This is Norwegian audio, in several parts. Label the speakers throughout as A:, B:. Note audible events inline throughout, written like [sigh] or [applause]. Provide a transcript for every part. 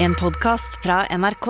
A: En podcast fra NRK.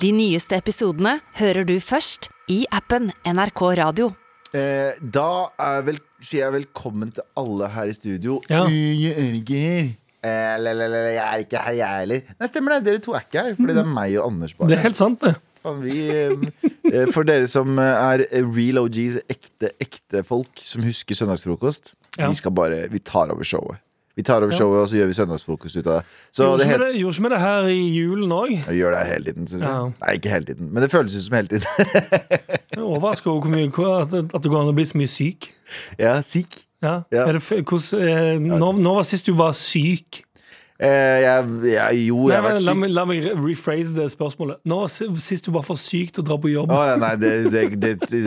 A: De nyeste episodene hører du først i appen NRK Radio.
B: Eh, da er vel, sier jeg velkommen til alle her i studio.
C: Ja.
B: Eh, Jeg er ikke her. Eh, la, la, la, la, jeg er ikke her, jeg heller. Nei, stemmer det. Dere to er ikke her. Fordi det er meg og Anders bare.
C: Det er helt sant, det.
B: Faen, vi, eh, eh, for dere som er real OGs, ekte, ekte folk som husker søndagsfrokost,
C: Ja.
B: vi skal bare Vi tar over showet. Vi tar over showet, og så gjør vi søndagsfrokost ut av det. Så
C: Gjorde
B: det
C: ikke
B: heter
C: vi det, gjorde ikke vi det her i julen òg?
B: Vi gjør det hele tiden, syns jeg.
C: Ja.
B: Nei, ikke hele tiden, men det føles ut som hele tiden. [laughs]
C: Overraska over hvor mye hvor- at, at det går an å bli så mye syk.
B: ja, sikk.
C: Ja.
B: Ja.
C: Er det, f- hvordan, eh, når, når var sist du var syk?
B: Eh, jeg, jeg, jo,
C: Nei,
B: jeg har vært
C: men, la,
B: syk.
C: meg, la meg re- rephrase det spørsmålet. Når var si- sist du var for syk til å dra på jobb?
B: Å ja, nei, det, det, det, det,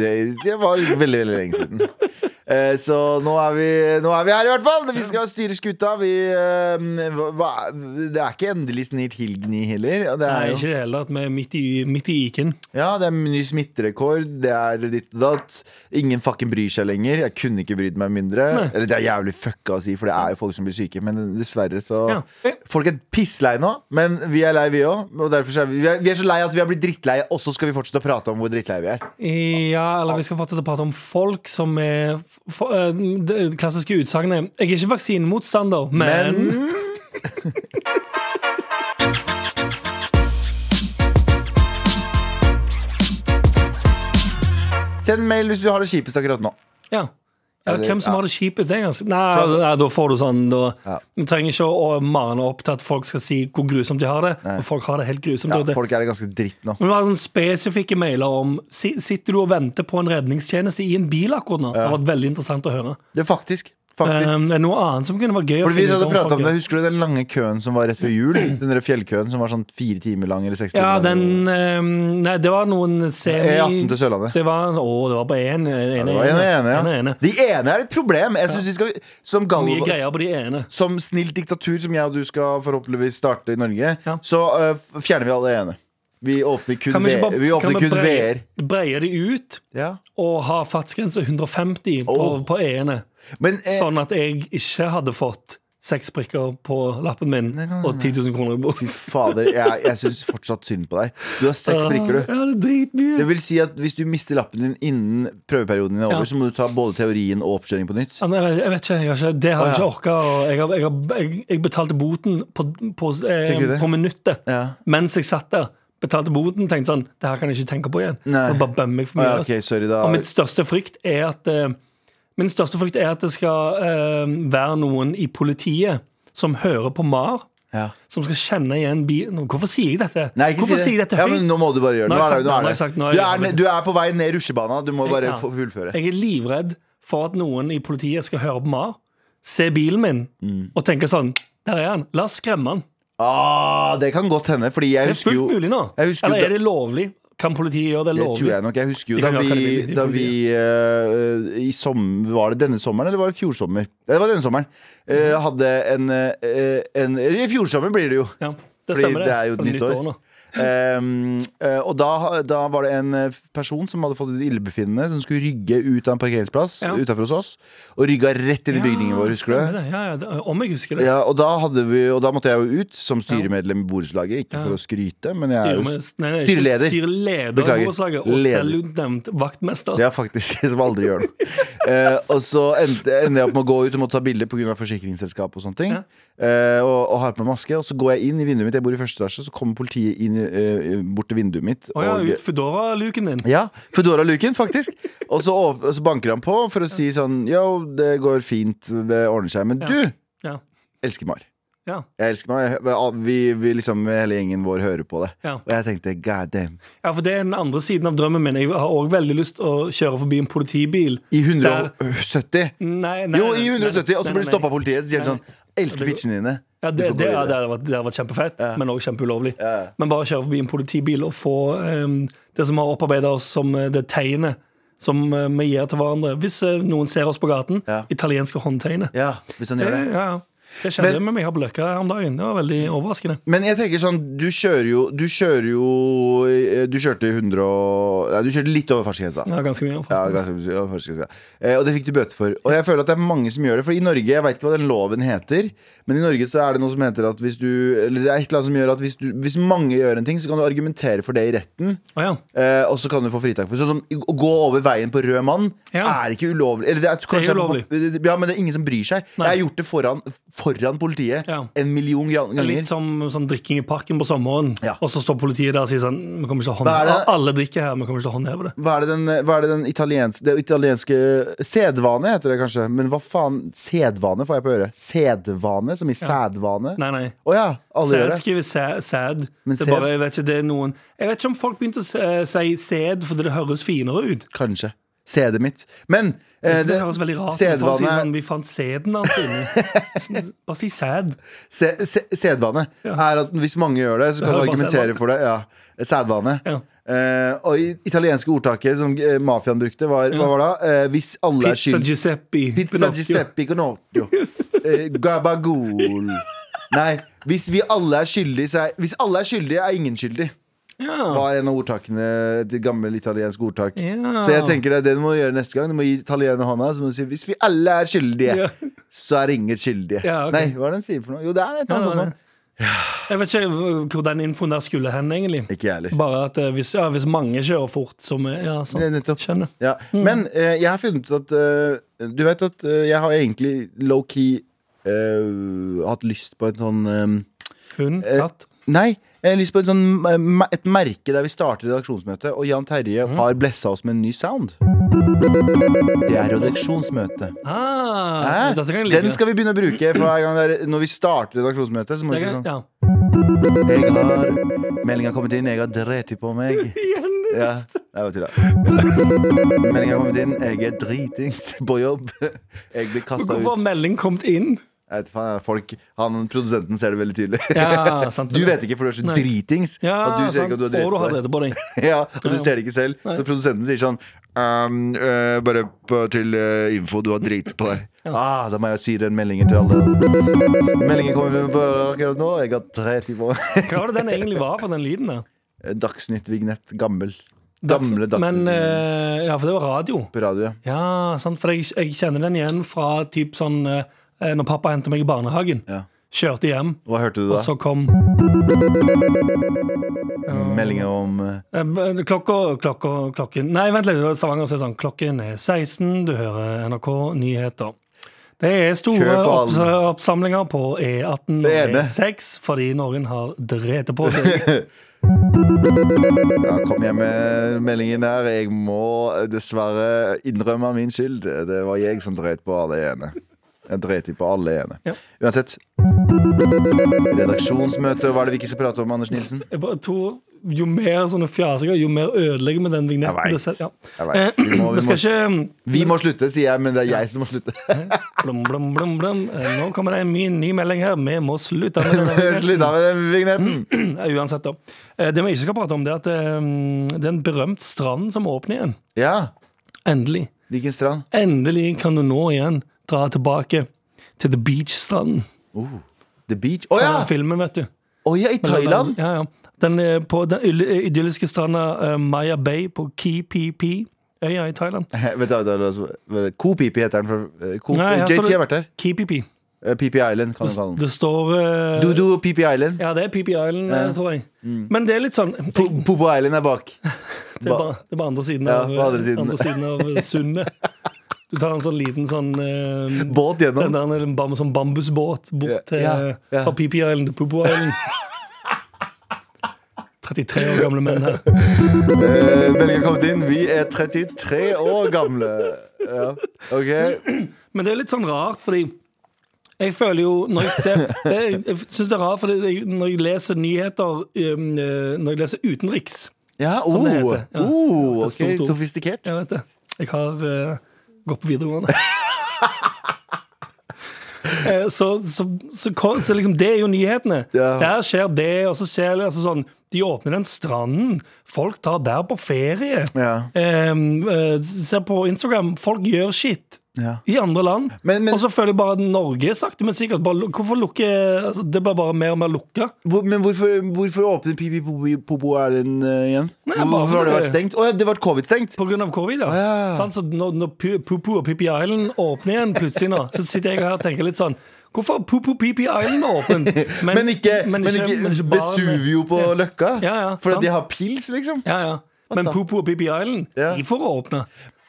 B: det var veldig, veldig lenge siden. Eh, så nå er, vi, nå er vi her, i hvert fall! Vi skal styre skuta. Vi, eh, hva, det er ikke endelig snilt Hilgni heller. og Det
C: Nei,
B: er jo,
C: ikke i det hele tatt. Vi er midt i, midt i iken.
B: ja, det er ny smitterekord. Det er ditt og datt. Ingen fucking bryr seg lenger. Jeg kunne ikke brydd meg mindre.
C: Nei.
B: Eller det er jævlig fucka å si, for det er jo folk som blir syke, men dessverre så
C: Ja. Eh,
B: Folk er pisslei nå, men vi er lei, vi òg. Og derfor så er vi, vi, er, vi er så lei at vi har blitt drittleie, og så skal vi fortsette å prate om hvor drittleie vi er.
C: Ja, eller vi skal fortsette å prate om folk som er f- for, eh, Det klassiske utsagnet 'Jeg er ikke vaksinemotstander, men
B: Send mail hvis du har det kjipest akkurat nå.
C: Ja. Ja,
B: Eller-
C: hvem som
B: ja.
C: har det kjipest? Det er ganske Nei, nei, da får du sånn da,
B: Ja.
C: Du trenger ikke å å mane opp til at folk skal si hvor grusomt de har det. Og folk har det helt grusomt.
B: Ja,
C: og det.
B: folk er det ganske dritt nå.
C: Men det var sånn spesifikke mailer om si- Sitter du og venter på en redningstjeneste i en bil akkurat nå? Det har vært veldig interessant å høre.
B: Det er faktisk. faktisk.
C: Um, er det noe annet som kunne vært gøy å
B: Fordi vi
C: finne ut
B: hadde
C: om
B: pratet om
C: folk?
B: det, Husker du den lange køen som var rett før jul? Den der fjellkøen som var sånn fire timer lang? eller seks
C: Ja,
B: timer
C: den um, Nei, det var noen semi...
B: E18 E til Sørlandet.
C: Det var, å, det var på én.
B: Ja, det var ene, ene, ja.
C: ene, ene.
B: De ene er et problem. Jeg synes vi skal Som
C: Mye
B: Galvan
C: greier på de ene.
B: Som snilt diktatur som jeg og du skal forhåpentligvis starte i Norge,
C: Ja.
B: så øh, f- fjerner vi alle ene. Vi åpner kun,
C: Kan vi ikke
B: V- vi
C: bare kan
B: åpner
C: vi
B: kun
C: breie,
B: VR.
C: breie det ut?
B: Ja.
C: og ha fartsgrense 150 på,
B: Åh.
C: på E-ene.
B: Men eh,
C: Sånn at jeg ikke hadde fått seks prikker på lappen min og 10 000 kroner i bot.
B: fader, jeg, jeg syns fortsatt synd på deg. Du har seks prikker, du.
C: Ja, det er dritmye.
B: Det vil si at Hvis du mister lappen din innen prøveperioden din er over,
C: Ja.
B: så må du ta både teorien og oppkjøring på nytt.
C: Ja, nei, Jeg vet ikke, jeg har ikke det har
B: Å, ja.
C: jeg ikke orka. og Jeg, har- jeg, har- jeg, jeg betalte boten på, på,
B: Tenker du
C: eh,
B: det?
C: på minuttet
B: Ja.
C: mens jeg satt der. Betalte boten, tenkte sånn Det her kan jeg ikke tenke på igjen.
B: Nei.
C: Jeg bare bømmer meg for
B: Å,
C: mye.
B: ja, ok, sorry, da.
C: Og mitt største frykt er at eh, Min største frykt er at det skal eh, være noen i politiet som hører på MAR,
B: Ja.
C: som skal kjenne igjen bilen Hvorfor sier jeg dette?
B: Nei, ikke
C: Hvorfor
B: si
C: sier jeg dette
B: Ja,
C: høyt?
B: men nå må du bare gjøre det. Nå
C: Nå har
B: er
C: jeg
B: det- nå
C: sagt- nå har
B: er det.
C: jeg sagt- nå har
B: Du
C: jeg-
B: er, ne- du er på vei ned rutsjebana. Du må bare
C: Ja.
B: få fullføre.
C: Jeg er livredd for at noen i politiet skal høre på MAR, se bilen min
B: Mm.
C: og tenke sånn Der er han. La oss skremme han.
B: Ah, det kan godt hende, fordi jeg
C: Det er
B: husker
C: fullt
B: jo
C: mulig nå.
B: jeg husker jo
C: Eller er
B: da-
C: det lovlig? Kan politiet gjøre det
B: Det
C: lovlig?
B: tror jeg nok. Jeg husker jo
C: De
B: da
C: kan jo ha
B: vi,
C: akademi-
B: da vi eh, i sommer, Var det denne sommeren, eller var det fjor sommer? Det var denne sommeren. Eh, hadde en, eh, en I fjor sommer blir det jo.
C: Ja, det
B: Fordi
C: stemmer, det.
B: det er jo et
C: For
B: nytt år.
C: nå.
B: Ehm, eh, og da, da var det en eh, person som hadde fått et illebefinnende, som skulle rygge ut av en parkeringsplass
C: Ja.
B: utenfor hos oss. Og rygga rett inn i bygningen
C: Ja,
B: vår, husker du?
C: stemmer det? Ja, ja, det, om jeg husker det.
B: Ja, og, da hadde vi, og da måtte jeg jo ut som styremedlem i borettslaget. Ikke
C: Ja.
B: for å skryte, men jeg er
C: Styre-
B: jo
C: nei, nei, ikke
B: styreleder.
C: Styreleder
B: Beklager.
C: i borettslaget og
B: Leder.
C: selvutnevnt vaktmester.
B: Ja, faktisk. Som aldri gjør noe. Eh, og så endte, endte jeg opp med å gå ut og måtte ta bilder pga. forsikringsselskap og sånne ting.
C: Ja.
B: Eh, og, og har på meg maske. Og så går jeg inn i vinduet mitt. Jeg bor i første etasje, så kommer politiet inn, eh, bort til vinduet mitt.
C: Å ja,
B: og,
C: ut Foodora-luken din.
B: ja, Foodora-luken, faktisk. Og så, åp- og så banker han på for å si sånn Yo, det går fint, det ordner seg. Men
C: Ja.
B: du
C: Ja.
B: elsker Mar.
C: Ja.
B: Jeg elsker Mar. Jeg- Vi, vi liksom, hele gjengen vår hører på det.
C: Ja.
B: Og jeg tenkte god damn.
C: ja, for det er den andre siden av drømmen min. Jeg har òg veldig lyst å kjøre forbi en politibil.
B: I 170?
C: Nei, nei,
B: Jo,
C: nei,
B: i
C: nei,
B: 170, og
C: nei,
B: så blir du
C: nei,
B: stoppa av
C: nei.
B: politiet. Så sier de
C: Nei,
B: sånn Elsker bitchene dine.
C: Ja,
B: Du
C: det,
B: får gå
C: det, ja,
B: videre.»
C: det, hadde vært, det hadde vært kjempefett, men òg kjempeulovlig.
B: Ja.
C: Men bare kjøre forbi en politibil og få eh, det som har opparbeida oss som eh, det tegnet som eh, vi gir til hverandre hvis eh, noen ser oss på gaten.
B: Ja.
C: Italienske håndtegnet.
B: Ja, hvis han gjør det.
C: ja, ja. Det skjedde med meg her på Løkka om dagen. Det var veldig overraskende.
B: Men jeg tenker sånn, du kjører jo Du kjører jo eh, Du kjørte 100 og Nei, du kjørte litt over fartsgrensa.
C: Det var ganske
B: Ja,
C: mye overraskende.
B: ganske- ja, fartsgrensa. Eh, og det fikk du bøte for. Og jeg føler at det er mange som gjør det. For i Norge, jeg veit ikke hva den loven heter, men i Norge så er det noe som heter at hvis du Eller det er et eller annet som gjør at hvis, du, hvis mange gjør en ting, så kan du argumentere for det i retten.
C: Å ja.
B: Eh, og så kan du få fritak for Sånn som å gå over veien på rød mann
C: Ja.
B: er ikke ulovlig. Eller det er, kanskje
C: ulovlig.
B: Ja, men det er ingen som bryr seg.
C: Nei.
B: Jeg har gjort det foran, foran politiet
C: Ja.
B: en million gran- ganger.
C: Litt som sånn drikking i parken på sommeren,
B: Ja.
C: og så står politiet der og sier sånn Vi kommer ikke
B: Hva
C: til å
B: er
C: håndheve
B: det?
C: Alle drikker her, vi kommer ikke til å håndheve det.
B: Hva er det den, hva er det den italienske, det italienske Sedvane heter det kanskje. Men hva faen? Sedvane får jeg på øret. Sedvane, som i sædvane? Å
C: Nei, nei.
B: ja, alle gjør
C: Sæd
B: det.
C: skriver sæ- sæd.
B: Men
C: Det er
B: sæd-
C: bare, jeg, vet ikke, det er noen, jeg vet ikke om folk begynte å sæ- si sæd fordi det høres finere ut.
B: Kanskje. Sædet mitt. Men eh,
C: Så det, høres veldig rart ut. når Folk sier sånn,
B: sedvane,
C: vi fant sæden
B: [laughs]
C: hans inni. Sånn, Bare si sæd.
B: se- se- sedvane
C: Ja.
B: er at hvis mange gjør det, så kan
C: hører
B: du
C: bare
B: argumentere
C: sædvane.
B: for det. Ja. Sædvane.
C: Ja.
B: Eh, og i italienske ordtaket som eh, mafiaen brukte, var hva var det? Eh, hvis alle er
C: Pizza
B: skyld
C: Giuseppe.
B: Pizza
C: Pinocchio.
B: Giuseppe Conotto. Eh, Gabagool. Nei, hvis vi alle er skyldige, så er Hvis alle er skyldige, er ingen skyldig.
C: Ja.
B: Var en av ordtakene til gammel italiensk ordtak.
C: Ja.
B: Så jeg tenker det er det du må gjøre neste gang. Du må gi italienerne hånda. Så må du si hvis vi alle er skyldige,
C: Ja.
B: så er ingen skyldige.
C: Ja, ok.
B: Nei, hva er det den sier for noe? Jo, det er et eller annet
C: Ja, det var
B: sånt noe.
C: det. Jeg vet ikke hvor den infoen der skulle hen, egentlig.
B: Ikke jeg heller.
C: Bare at eh, hvis, ja, hvis mange kjører fort, som er- Ja, sånn.
B: Det er nettopp.
C: Skjønner. Mm.
B: Ja. Men eh, jeg har funnet ut at eh, Du vet at eh, jeg har egentlig low-key eh, hatt lyst på en sånn eh,
C: Hund,
B: Eh,
C: katt.
B: Nei, jeg har lyst på en sånn, eh, me- et merke der vi starter redaksjonsmøtet, og Jan Terje
C: Mhm.
B: har blessa oss med en ny sound. Det er redaksjonsmøte.
C: Ah,
B: Hæ?
C: dette kan jeg like.
B: Den skal vi begynne å bruke for hver gang det er, når vi starter redaksjonsmøtet. Så må vi
C: Det
B: si
C: kan-
B: sånn
C: ja.
B: Jeg har Meldinga har kommet inn, jeg har dreti på meg. Ja, det var tulla. Meldinga har kommet inn, jeg er dritings på jobb. Jeg blir kasta
C: Hvorfor har
B: ut.
C: melding kommet inn?
B: Jeg vet faen, folk, han Produsenten ser det veldig tydelig.
C: Ja, sant
B: Du vet ikke, for du er så
C: Nei.
B: dritings.
C: Ja,
B: at du ser
C: sant.
B: ikke at du har
C: Og du har
B: dreti deg.
C: drevet på deg.
B: Ja, og du ser det ikke selv. Så produsenten sier sånn «Ehm, eh, Bare på, til eh, info, du har drit på deg. Ah, da må jeg si den meldingen til alle. Meldingen kommer på akkurat nå. Jeg har tre timer.
C: Hva var det den egentlig var for den lyden der?
B: [laughs] Dagsnytt-vignett. Gammel. Gamle
C: Men,
B: Dagsnytt-vignett
C: eh, ja, for det var radio.
B: på radio. ja.
C: Ja, sant, for jeg, jeg kjenner den igjen fra typ sånn eh, Når pappa hentet meg i barnehagen.
B: Ja.
C: Kjørte hjem,
B: Hva hørte du
C: og
B: da?
C: så kom
B: Meldinga om eh,
C: eh, b- Klokka, klokka, klokken Nei, vent litt, det var Stavanger sier sånn Klokken er 16, du hører NRK Nyheter. Det er store
B: Kjør på
C: opps
B: alle.
C: oppsamlinger på E18 og
B: Det ene.
C: E6 fordi noen har drept på
B: [laughs]
C: seg.
B: Ja, kom hjem med meldingen her. Jeg må dessverre innrømme min skyld. Det var jeg som dreit på alle ene. Jeg dreit i på alle ene.
C: Ja.
B: Uansett. Redaksjonsmøte, hva er det vi ikke skal prate om, Anders Nilsen?
C: Jeg bare tror Jo mer sånne fjasinger, jo mer ødelegger vi den
B: Jeg
C: vignetten.
B: vet.
C: Det ser- ja.
B: Jeg vet.
C: [clears throat]
B: Vi må,
C: Vi
B: vi må,
C: skal ikke
B: vi må slutte, sier jeg, men det er jeg som må slutte. [laughs]
C: Blom, blom, blom, blom. Eh, Nå kommer det en ny, ny melding her. Vi må slutte med denne vignetten.
B: Slutt av med den vignetten!
C: Eh, Uansett, da. Eh, Det vi ikke skal prate om, det er at eh, det er en berømt strand som åpner igjen.
B: Ja.
C: Endelig.
B: Hvilken strand?
C: Endelig kan du nå igjen dra tilbake til The Beach-stranden.
B: The Beach? Å ja!
C: Den Filmen, vet du.
B: Å ja, i Thailand?
C: Ja, ja. Den er på den ill- idylliske stranda eh, Maya Bay på KPP. Øya i Thailand.
B: [laughs] Vent, da, vent, da, la oss- hva er det? Kopipi heter den. For, eh, Ko-
C: Nei, her står
B: JT
C: det-
B: har vært der.
C: KPP.
B: Eh, Pipi Island, kan du kalle den.
C: Det står eh,
B: Dodo Pipi Island.
C: Ja, det er PP Island, eh, tror jeg.
B: Mm.
C: Men det er litt sånn
B: Po- Popo Island er bak.
C: Det er bare, det er bare andre siden
B: Ja,
C: av,
B: på andre siden.
C: andre siden av sundet. Du tar en sånn liten sånn eh,
B: Båt gjennom.
C: den der, en bam, sånn bambusbåt bort
B: Ja,
C: til, eh,
B: ja, ja.
C: fra PP Island til
B: [laughs]
C: Popo Island. 33 år gamle menn her.
B: Eh, Meldinga har kommet inn. Vi er 33 år gamle. Ja, ok
C: Men det er litt sånn rart, fordi jeg føler jo Når jeg ser Jeg, jeg syns det er rart, fordi jeg, når jeg leser nyheter um, eh, Når jeg leser utenriks
B: Ja, oh,
C: det heter, ja.
B: oh,
C: Det er
B: ok,
C: stort ord.
B: Sofistikert.
C: Jeg vet det. Jeg har eh, gått
B: [laughs]
C: på videregående. Eh, Så, så, så, kom- så liksom, det er jo nyhetene.
B: Ja.
C: Der skjer det, og så skjer det altså sånn De åpner den stranden. Folk tar der på ferie. Ehm,
B: Ja.
C: Eh, eh, ser på Instagram. Folk gjør shit.
B: Ja.
C: i andre land.
B: Men- men-
C: og så føler jeg bare at Norge sakte, men sikkert bare, lu- Hvorfor lukker altså, Det blir bare mer og mer lukka.
B: Hvor, men hvorfor, hvorfor åpner Pipi Popo- Popo Erlend eh, igjen?
C: Nei, bare
B: hvorfor har det vært
C: fordi-
B: stengt? Å ja, det ble covid-stengt!
C: På grunn av covid, ja.
B: ja, ja.
C: Sant, så når, når Pu- Pupu og Pippi Island åpner igjen plutselig nå, så sitter jeg her og tenker litt sånn Hvorfor er Pupu Pippi Island åpen? Men,
B: Men ikke, men ikke,
C: baren-
B: Vesuvio på Løkka?
C: Ja, ja,
B: for
C: sant.
B: at de har pils, liksom?
C: Ja, ja. Men
B: da?
C: Pupu og Pippi Island,
B: Ja.
C: de får åpne.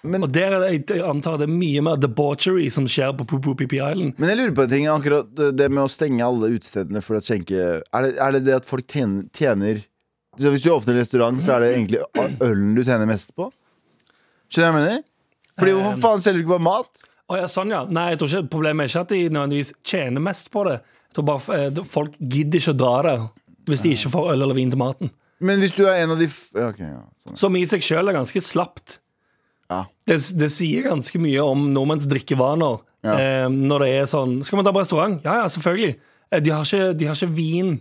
B: Men-
C: og der er det, jeg antar det er mye mer debauchery som skjer på Pupu og Pippi Island.
B: Men jeg lurer på en ting, akkurat det med å stenge alle utestedene for å skjenke er det, er det det at folk tjener, tjener Så Hvis du åpner en restaurant, så er det egentlig ølen du tjener mest på? Skjønner du hva jeg mener? Fordi
C: Eh,
B: hvorfor faen selger du ikke bare mat?
C: Å ja, sånn, ja. Nei, jeg tror ikke, problemet er ikke at de nødvendigvis tjener mest på det. Jeg tror bare eh, Folk gidder ikke å dra der hvis de ikke får øl eller vin til maten.
B: Men hvis du er en av de f ja, ok, ja, sånn.
C: Som i seg sjøl er ganske slapt.
B: Ja.
C: Det, det sier ganske mye om nordmenns drikkevaner
B: Ja.
C: eh, når det er sånn Skal vi ta på restaurant? Ja, ja, selvfølgelig. Eh, De har ikke, de har ikke vin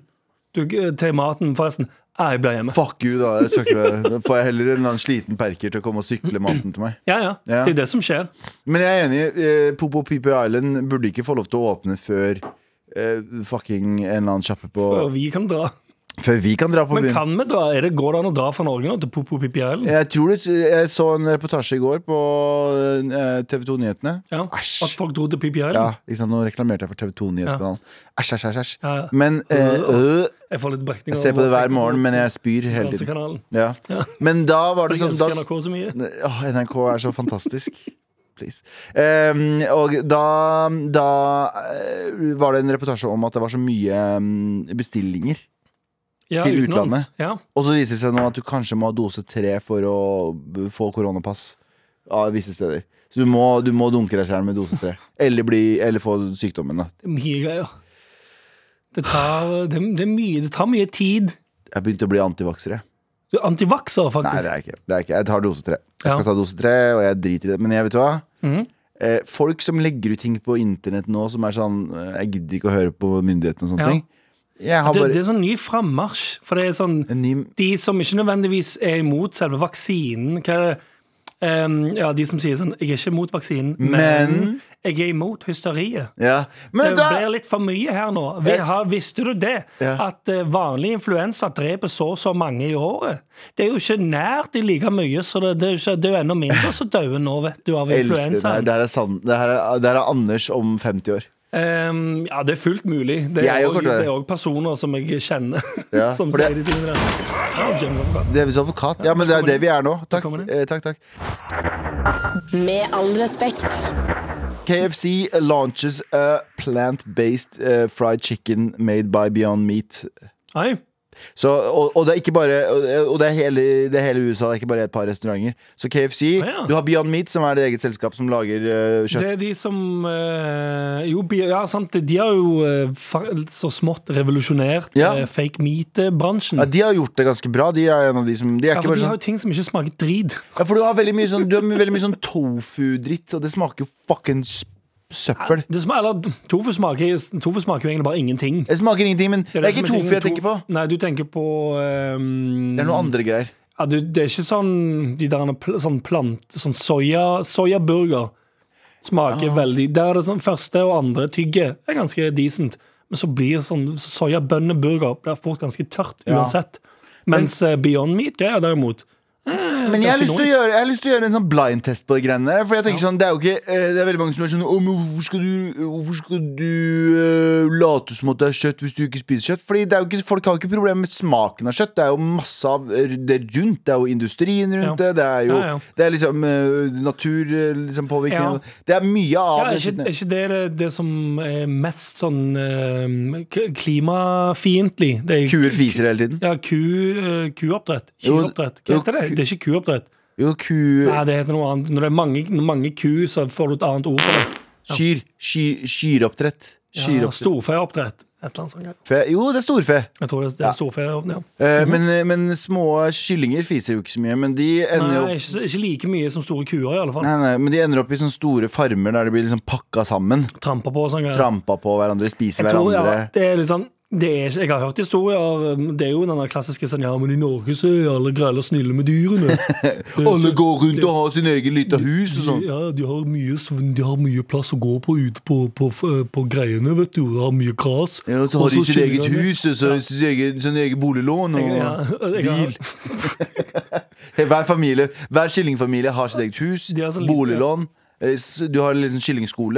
C: du, eh, til maten, forresten. Ja, jeg blir hjemme.
B: Fuck you, da. Jeg skal ikke være. Da får jeg heller en eller annen sliten perker til å komme og sykle maten til meg.
C: Ja, ja.
B: Ja.
C: Det er jo det som skjer.
B: Men jeg er enig. Eh, Popo Pipi Island burde ikke få lov til å åpne før eh, fucking en eller annen sjappe på
C: Og vi kan dra.
B: Før vi kan dra på
C: Men
B: byen.
C: kan vi dra? Er det, går det an å dra fra Norge nå til Popo Pippi Island?
B: Jeg tror det, jeg så en reportasje i går på eh, TV 2 Nyhetene.
C: Ja.
B: Æsj.
C: At folk dro til Pippi
B: Ja,
C: Island?
B: ikke sant? Nå reklamerte jeg for TV 2 Nyhetskanalen. Æsj, æsj, æsj. æsj.
C: Ja, ja.
B: Men eh, øh,
C: Jeg får litt brekning.
B: Jeg ser på det hver morgen, men jeg spyr hele tiden.
C: Dansekanalen.
B: Ja.
C: Ja.
B: Men da var det
C: Jeg
B: sånn da,
C: elsker NRK så mye.
B: Åh, NRK er så fantastisk. [laughs] Please. Em, og da, da eh, var det en reportasje om at det var så mye em, bestillinger.
C: Ja,
B: Til
C: utenlands.
B: utlandet.
C: Ja.
B: Og så viser det seg nå at du kanskje må ha dose tre for å b- få koronapass av visse steder. Så du må, du må dunke deg sjæl med dose tre. Eller, bli, eller få sykdommen. da
C: Det er mye greier. Det tar, det, det er mye, det tar mye tid.
B: Jeg begynte å bli antivakser, jeg.
C: Du er antivakser,
B: Nei, det
C: faktisk.
B: er jeg ikke. Det er jeg ikke. Jeg tar dose tre. Jeg skal
C: Ja. Mhm.
B: ta dose tre, og jeg driter i det. Men jeg vet du hva? Eh, folk som legger ut ting på internett nå som er sånn eh, Jeg gidder ikke å høre på myndighetene og sånne
C: Ja.
B: ting. Jeg har
C: det,
B: bare
C: det er sånn ny frammarsj. For det er sånn
B: en ny
C: De som ikke nødvendigvis er imot selve vaksinen Hva er det? Em, ja, de som sier sånn Jeg er ikke imot vaksinen, men,
B: Men-
C: jeg er imot hysteriet.
B: Ja. Men
C: Det
B: vet du hva?
C: blir litt for mye her nå. Vi, har, visste du det?
B: Ja.
C: At eh, vanlig influensa dreper så og så mange i året. Det er jo ikke nært i like mye, så det, det, er jo ikke, det er jo enda mindre som dauer nå, vet du,
B: Elsker
C: av
B: det her.
C: influensaen.
B: Det her er, sann- det her er, det her er Anders om 50 år.
C: Ehm, ja, det er fullt mulig. Det
B: Jeg
C: er
B: er jo
C: også-
B: kortere.
C: det er òg personer som jeg kjenner,
B: Ja,
C: [laughs] som
B: for det-
C: sier de tingene der. Ja, Jim Lovell.
B: Djevelens advokat. Ja, men det er det vi er nå. Takk.
C: Velkommen inn.
B: Eh, takk, takk.
A: Med all respekt.
B: KFC eh, launches a plant-based eh, fried chicken made by Beyond Meat.
C: Hei.
B: Så, og, og det er ikke bare Og og det er hele, det er hele USA, det er ikke bare et par restauranter. Så KFC
C: Ah, ja.
B: Du har Beyond Meat, som er det eget selskap som lager eh, kjøtt.
C: Det er de som eh, Jo, bi- ja, sant. De har jo eh, fa- så smått revolusjonert
B: Ja.
C: eh, fake meat-bransjen.
B: Ja, de har gjort det ganske bra. De er en av de som de er
C: Ja,
B: ikke
C: for
B: bare
C: de har
B: sånn,
C: jo ting som ikke smaker drit.
B: ja, For du har veldig mye sånn Du har veldig mye sånn tofu-dritt, og det smaker jo fucking s- søppel.
C: Det smaker, eller, tofu, smaker, tofu smaker jo egentlig bare ingenting.
B: Det smaker ingenting, men det er,
C: som
B: ikke tofu Mm.
C: tingen,
B: jeg tenker på.
C: tof- Nei, du tenker på ehm,
B: Det er noen andre greier.
C: ja, du, Det er ikke sånn de der pl sånn plant... Sånn soya, soyaburger smaker
B: Ah.
C: veldig Der er det sånn første og andre tygge er ganske decent. Men så blir sånn så soyabønneburger blir fort ganske tørt
B: Ja.
C: uansett. Mens eh, Beyond Meat-greier derimot
B: Men jeg har,
C: Ganske
B: lyst til å
C: ironisk.
B: gjøre, jeg har lyst til å gjøre en sånn blindtest på de greiene der. For jeg tenker sånn, Det er jo ikke eh, Det er veldig mange som er sånn «Å, men Hvorfor skal du, hvorfor skal du eh, late som at det er kjøtt hvis du ikke spiser kjøtt? Fordi det er jo ikke, Folk har jo ikke problemer med smaken av kjøtt. Det er jo masse av det rundt. Det er jo industrien rundt
C: Ja.
B: det. Det er jo
C: Ja, ja.
B: Det er liksom eh, natur eh, liksom påvirkning.
C: Ja.
B: Det er mye av
C: Ja, er
B: det.
C: ikke,
B: skitten.
C: er ikke det, det det som er mest sånn eh, k- klimafiendtlig? Det er-
B: Kuer fiser hele tiden.
C: Ja, ku, eh, kuoppdrett.
B: Jo,
C: Kyroppdrett.
B: jo,
C: Hva heter det?
B: ku-
C: Det er ikke kuoppdrett.
B: Jo, ku
C: Nei, det heter noe annet. Når det er mange, når mange ku, så får du et annet ord på det.
B: Kyr. Kyr- Kyroppdrett.
C: Ja,
B: Kyroppdrett.
C: Storfeoppdrett. Et eller annet sånt. ja.
B: Fe- Jo, det er storfe.
C: Jeg tror det er, det
B: Ja.
C: er storfeoppdrett. Ja.
B: Eh, men, men små kyllinger fiser jo ikke så mye. Men de ender jo
C: Nei, ikke, ikke like mye som store kuer, i alle fall.
B: Nei, nei, men de ender opp i sånne store farmer der de blir liksom pakka sammen.
C: Tramper på og sånn. greier.
B: Trampa på hverandre, spiser
C: Jeg tror, ja,
B: hverandre.
C: det er litt sånn Det er, ikke- jeg har hørt historier. um, Det er jo den der klassiske sånn Ja, men i Norge så er alle grelle og snille med
B: [laughs]
C: dyrene.
B: Alle går rundt og har sin egen lita hus og sånn.
C: Ja, de har, mye, sv- de har mye plass å gå på ute på, på, f- eh, på greiene, vet du. De har mye gras.
B: Ja, og så har
C: Og
B: de sitt eget
C: skyller de-
B: hus og så sin egen, sin egen boliglån og
C: Ja, [laughs] jeg har-
B: bil. Hey, Hver familie, hver kyllingfamilie har sitt eget hus,
C: De har sånn liten-
B: boliglån. eh, s- Du har en liten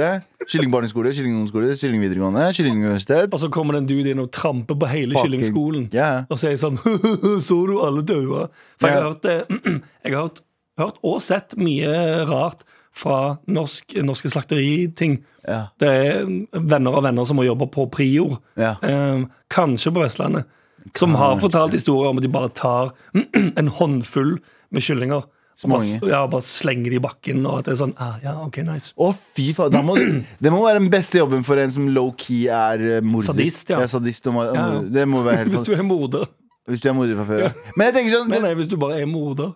B: kyllingskole, kyllingbarneskole, kyllingungdomsskole, kyllingvideregående, kyllinguniversitet.
C: Og så kommer det en dude inn og tramper på hele
B: Fucking-
C: kyllingskolen.
B: Ja.
C: Og så er jeg sånn [laughs] Så du alle daua? For jeg
B: Ja.
C: har hørt, eh, [clears throat] jeg har hørt, hørt og sett mye rart fra norsk, norske slakteriting.
B: Ja.
C: Det er mm, venner av venner som må jobbe på Prior,
B: Ja.
C: eh, kanskje på Vestlandet, som har fortalt historier om at de bare tar [clears throat] en håndfull med kyllinger. Og
B: Småinger.
C: bare, ja, bare slenger de i bakken, og at det er sånn ah, Ja, OK, nice.
B: Å, fy faen. da
C: [clears throat]
B: må du- Det må være den beste jobben for en som low-key er eh, morder.
C: Sadist, ja.
B: sadist og mor-
C: Ja, ja.
B: mor- Det må være helt
C: [laughs] Hvis
B: hvis
C: du er eh, morder.
B: hvis du er morder fra før ja. Men jeg tenker sånn
C: Nei,
B: det,
C: [laughs] nei, hvis du bare er morder.